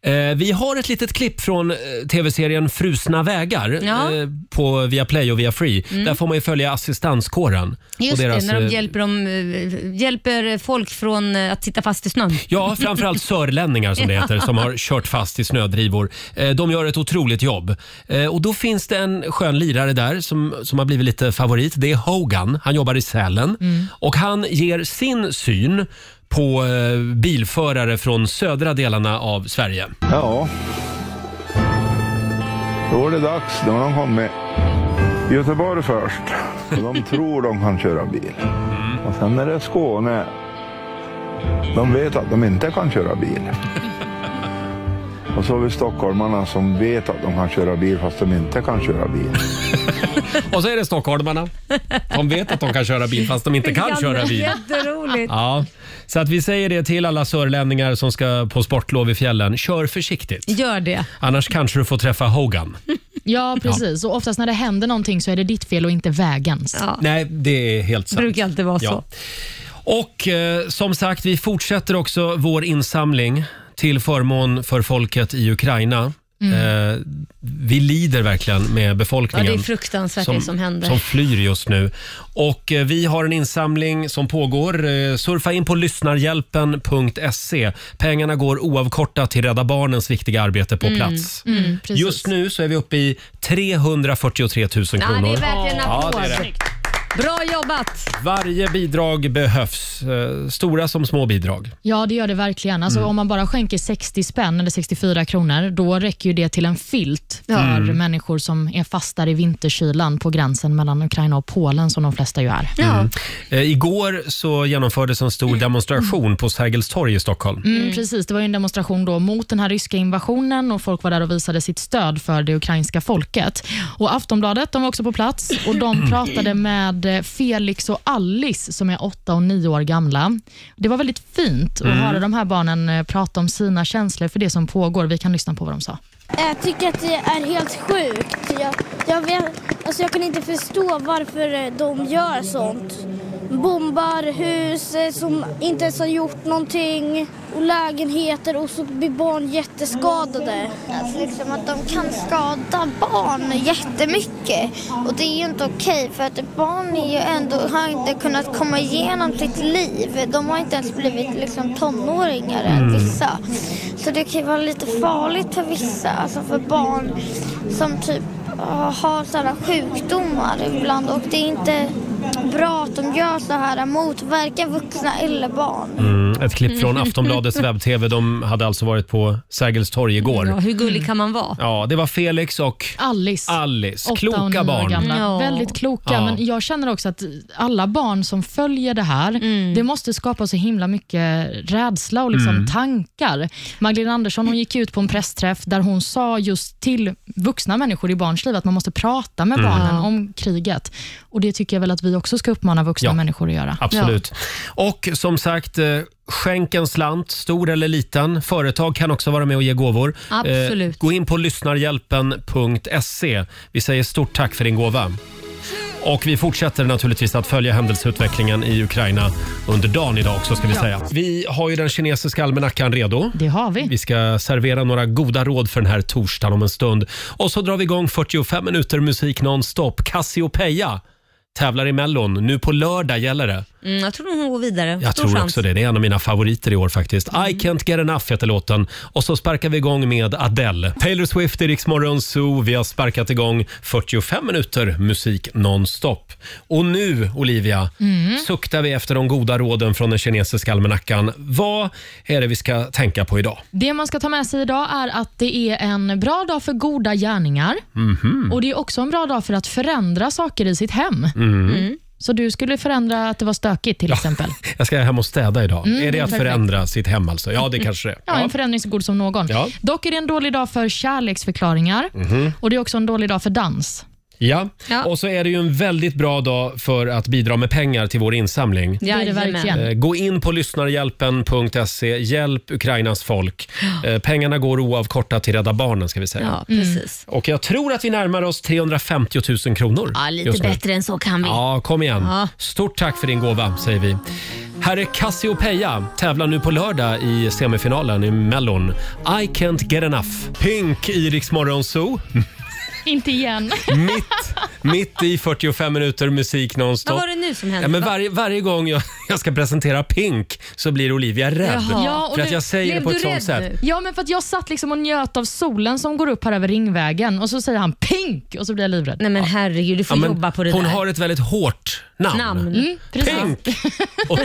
S1: Eh, vi har ett litet klipp från eh, tv-serien Frusna vägar
S3: Ja. Mm.
S1: eh, på Viaplay och Viafree. Där får man ju följa assistanskåren. och
S3: Just
S1: deras,
S3: det, när de
S1: eh,
S3: hjälper, dem, eh, hjälper folk från eh, att sitta fast i snön.
S1: Ja, framförallt sörlänningar som det heter, som har kört fast i snödrivor. Eh, De gör ett otroligt jobb. Eh, Och då finns det en skön lirare där som, som har blivit lite favorit. Det är Hogan. Han jobbar i Sälen.
S3: Mm.
S1: Och han ger sin syn på eh, bilförare från södra delarna av Sverige.
S7: Ja. Då är det dags. Då har de kommit. Göteborg först. Och de tror de kan köra bil. Och sen är det Skåne. De vet att de inte kan köra bil. Och så har vi stockholmarna som vet att de kan köra bil fast de inte kan köra bil.
S1: Och så är det stockholmarna. De vet att de kan köra bil fast de inte kan köra bil.
S3: Jätteroligt.
S1: Ja, så att vi säger det till alla sörlänningar som ska på sportlov i fjällen. Kör försiktigt.
S3: Gör det.
S1: Annars kanske du får träffa Hogan.
S5: Ja, precis. Och oftast när det händer någonting så är det ditt fel och inte vägens.
S3: Ja.
S1: Nej, det är helt sant.
S3: Brukar alltid vara så.
S1: Och eh, som sagt, vi fortsätter också vår insamling till förmån för folket i Ukraina. Eh, vi lider verkligen med
S3: Mm. Ja, det
S1: befolkningen.
S3: är fruktansvärt det som händer.
S1: som flyr just nu. Och eh, vi har en insamling som pågår. Eh, surfa in på lyssnarhjälpen.se. Pengarna går oavkortat till Rädda Barnens viktiga arbete på plats.
S5: Mm, precis.
S1: Just nu så är vi uppe i 343 000 kronor.
S3: Ja, det är verkligen en
S1: Ja,
S3: applåd.
S1: det är det.
S3: Bra jobbat!
S1: Varje bidrag behövs. eh, Stora som små bidrag.
S5: Ja, det gör det verkligen. Alltså, Om man bara skänker 60 spänn eller 64 kronor, då räcker ju det till en filt för människor som är fast där i vinterkylan på gränsen mellan Ukraina och Polen, som de flesta ju är.
S3: Ja.
S1: Eh, Igår så genomfördes en stor demonstration på Sergels torg i Stockholm.
S5: Mm, precis, det var ju en demonstration då mot den här ryska invasionen och folk var där och visade sitt stöd för det ukrainska folket. Och Aftonbladet de var också på plats och de pratade med eh, Felix och Alice som är åtta och nio år gamla. Det var väldigt fint att höra de här barnen eh, prata om sina känslor för det som pågår. Vi kan lyssna på vad de sa.
S9: Jag tycker att det är helt sjukt. Jag, jag, vet, alltså jag kan inte förstå varför eh, de gör sånt. Bombar hus eh, som inte ens har gjort någonting och lägenheter och så blir barn jätteskadade. Alltså liksom att de kan skada barn jättemycket och det är ju inte okej för att ett barn är ju ändå, har inte kunnat komma igenom sitt liv. De har inte ens blivit liksom tonåringar än vissa. Så det kan ju vara lite farligt för vissa, alltså för barn som typ eh, har sådana sjukdomar ibland och det är inte bra att de gör så här, motverkar vuxna eller barn.
S1: Mm, ett klipp från Aftonbladets webb-tv. De hade alltså varit på Sergels torg
S3: Ja,
S1: igår.
S3: hur gullig kan man vara?
S1: Ja, det var Felix och
S5: Alice.
S1: Alice.
S5: Åtta och nio
S1: Kloka
S5: år
S1: barn.
S5: Gamla.
S3: Ja.
S5: Väldigt kloka.
S1: Ja.
S5: Men jag känner också att alla barn som följer det här, det måste skapa så himla mycket rädsla och liksom
S1: Mm.
S5: tankar. Magdalena Andersson hon gick ut på en pressträff där hon sa just till vuxna människor i barns liv att man måste prata med
S1: Mm.
S5: barnen om kriget. Och Det tycker jag väl att vi också ska uppmana vuxna
S1: Ja.
S5: människor att göra.
S1: Absolut. Och som sagt, eh, skänk en slant, stor eller liten. Företag kan också vara med och ge gåvor. Eh,
S3: Absolut.
S1: gå in på lyssnarhjälpen.se. Vi säger stort tack för din gåva. Och vi fortsätter naturligtvis att följa händelseutvecklingen i Ukraina under dagen idag också ska vi säga. Vi har ju den kinesiska almanackan redo.
S5: Det har vi.
S1: Vi ska servera några goda råd för den här torsdagen om en stund. Och så drar vi igång 45 minuter musik nonstop. Cassiopeia tävlar i Mellon. Nu på lördag gäller det.
S3: Mm, jag tror nog hon går vidare.
S1: Jag
S3: Stor
S1: tror
S3: chans. Mm.
S1: också det. Det är en av mina favoriter i år faktiskt. I can't get enough heter låten. Och så sparkar vi igång med Adele. Taylor Swift i Rix Morgon Zoo. Vi har sparkat igång 45 minuter musik nonstop. Och nu, Olivia,
S3: Mm.
S1: suktar vi efter de goda råden från den kinesiska almanackan. Vad är det vi ska tänka på idag?
S5: Det man ska ta med sig idag är att det är en bra dag för goda gärningar.
S1: Mhm.
S5: Och Det är också en bra dag för att förändra saker i sitt hem.
S1: Mhm.
S5: Mm. Så du skulle förändra att det var stökigt till exempel.
S1: Jag ska hem och städa idag.
S3: Mm,
S1: är det att
S5: perfekt.
S1: förändra sitt hem alltså? Ja, det kanske det är.
S5: Ja,
S1: Ja.
S5: en förändring så god som någon.
S1: Ja. Mhm.
S5: Dock är det en dålig dag för kärleksförklaringar och det är också en dålig dag för dans.
S1: Ja.
S3: Ja.
S1: Och så är det ju en väldigt bra dag för att bidra med pengar till vår insamling.
S5: Det är det
S3: Jajamän.
S5: verkligen.
S1: Eh, Gå in på lyssnarhjälpen.se. Hjälp Ukrainas folk. Eh, Pengarna går oavkortat till Rädda Barnen ska vi säga.
S3: Ja, precis.
S1: Och jag tror att vi närmar oss 350 000 kronor.
S3: Ja, lite
S1: just nu.
S3: bättre än så kan vi.
S1: Ja, kom igen.
S3: Ja.
S1: Stort tack för din gåva, säger vi. Här är Cassiopeia. Tävlar nu på lördag i semifinalen i Mellon. I can't get enough. Pink i Rix Morgon Zoo.
S5: Inte igen.
S1: Mitt, mitt i 45 minuter musik nonstop.
S3: Vad var det nu som hände?
S1: Ja, men
S3: Va?
S1: varje, varje gång jag, jag ska presentera Pink så blir Olivia rädd.
S3: Jaha.
S5: Ja, och
S1: för att
S5: nu-
S1: jag säger det
S3: blev
S1: på
S3: du
S1: ett sånt
S3: rädd
S1: sätt.
S3: nu?
S5: Ja, men för att jag satt liksom och njöt av solen som går upp här över Ringvägen och så säger han pink och så blir jag livrädd.
S3: Nej men herregud, du
S1: Ja,
S3: får
S1: men
S3: jobba på det
S1: hon
S3: där.
S1: har ett väldigt hårt namn.
S3: Namn.
S5: Mm, precis.
S1: Pink! Och,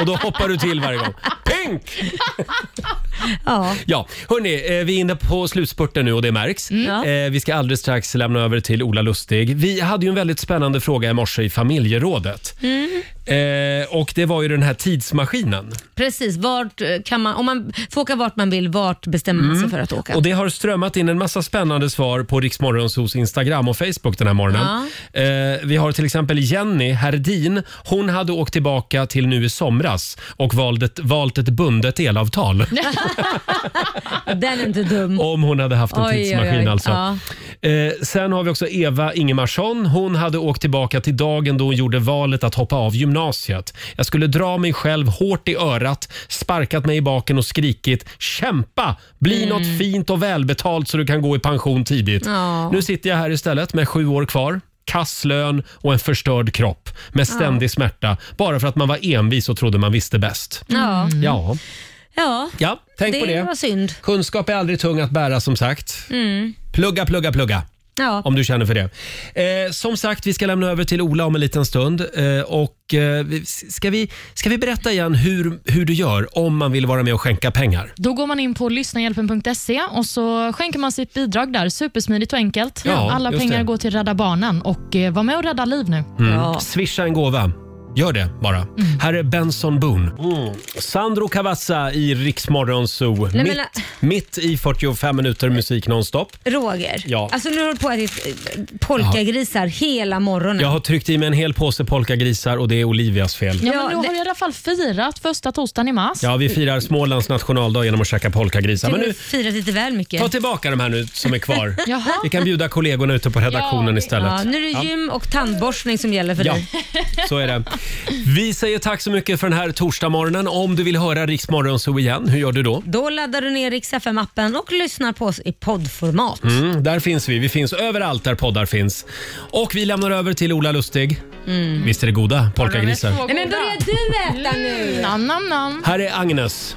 S1: och då hoppar du till varje gång. Pink!
S3: Ja.
S1: Ja, hörni, eh, vi är inne på slutspurten nu och det märks.
S3: Mm. Ja.
S1: Eh, Vi ska alldeles strax lämna över till Ola Lustig. Vi hade ju en väldigt spännande fråga i morse i familjerådet.
S3: Mm.
S1: Eh, och det var ju den här tidsmaskinen.
S3: Precis, vart eh, kan man, om man får åka vart man vill, vart bestämmer man sig för att åka?
S1: Mm. Och det har strömmat in en massa spännande svar på Riksmorgonsos Instagram och Facebook den här morgonen. Eh, vi har till exempel Jenny Herdin. Hon hade åkt tillbaka till nu i somras och valt ett, valt ett bundet elavtal.
S3: Den är inte dum.
S1: Om hon hade haft en
S3: Oj, oj, oj.
S1: tidsmaskin alltså.
S3: Ja.
S1: Eh, sen har vi också Eva Ingemarsson. Hon hade åkt tillbaka till dagen då hon gjorde valet att hoppa av gymnasiet. Jag skulle dra mig själv hårt i örat, sparkat mig i baken och skrikit “Kämpa! Bli något fint och välbetalt så du kan gå i pension tidigt”.
S3: Mm. Ja.
S1: Nu sitter jag här istället med sju år kvar. Kasslön och en förstörd kropp med ständig smärta bara för att man var envis och trodde man visste bäst.
S3: Ja.
S1: Ja,
S3: ja,
S1: ja Mm. tänk på
S3: Mm. det
S1: det.
S3: var synd. Mm.
S1: Kunskap är aldrig tung att bära som sagt. Plugga, plugga, plugga.
S3: Ja.
S1: Om du känner för det. Eh, som sagt, vi ska lämna över till Ola om en liten stund. Eh, och, eh, vi- ska, vi, ska vi berätta igen hur, hur du gör om man vill vara med och skänka pengar?
S5: Då går man in på lyssnahjälpen.se och så skänker man sitt bidrag där. Supersmidigt och enkelt.
S1: Ja,
S5: Alla
S1: just
S5: pengar
S1: det. Mm.
S5: går till Rädda Barnen och eh, var med och rädda liv nu.
S3: Ja.
S1: Swisha en gåva. Gör det bara. Här är Benson Boone. Sandro Cavazza i Riksmorgon Zoo.
S3: men-
S1: mitt, mitt i 45 minuter musik nonstop.
S3: Roger,
S1: Mm. Ja.
S3: alltså nu har du på att äta eh, polkagrisar hela morgonen.
S1: Jag har tryckt i mig en hel påse polkagrisar och det är Olivias fel.
S5: Ja,
S3: Ja,
S5: men då
S3: det-
S5: har jag i alla fall firat första torsdagen i mars.
S1: Ja, vi firar Smålands nationaldag genom att käka polkagrisar.
S3: Du
S1: Men
S3: har
S1: nu,
S3: firat lite väl mycket.
S1: ta tillbaka de här nu som är kvar.
S5: Jaha.
S1: Vi kan bjuda kollegorna ute på redaktionen
S5: Ja, det-
S1: istället.
S3: Ja, nu är det gym och tandborstning som gäller för
S1: Ja,
S3: dig.
S1: så är det. Vi säger tack så mycket för den här torsdagsmorgonen. Om du vill höra Riksmorgon så igen, hur gör du då?
S3: Då laddar du ner Rix FM-appen och lyssnar på oss i poddformat.
S1: Mm, där finns vi. Vi finns överallt där poddar finns. Och vi lämnar över till Ola Lustig. Visst är det goda polkagrisar?
S5: Nej, men börja
S3: Börjar du äta nu?
S5: Nam, nam, nam.
S1: Här är Agnes.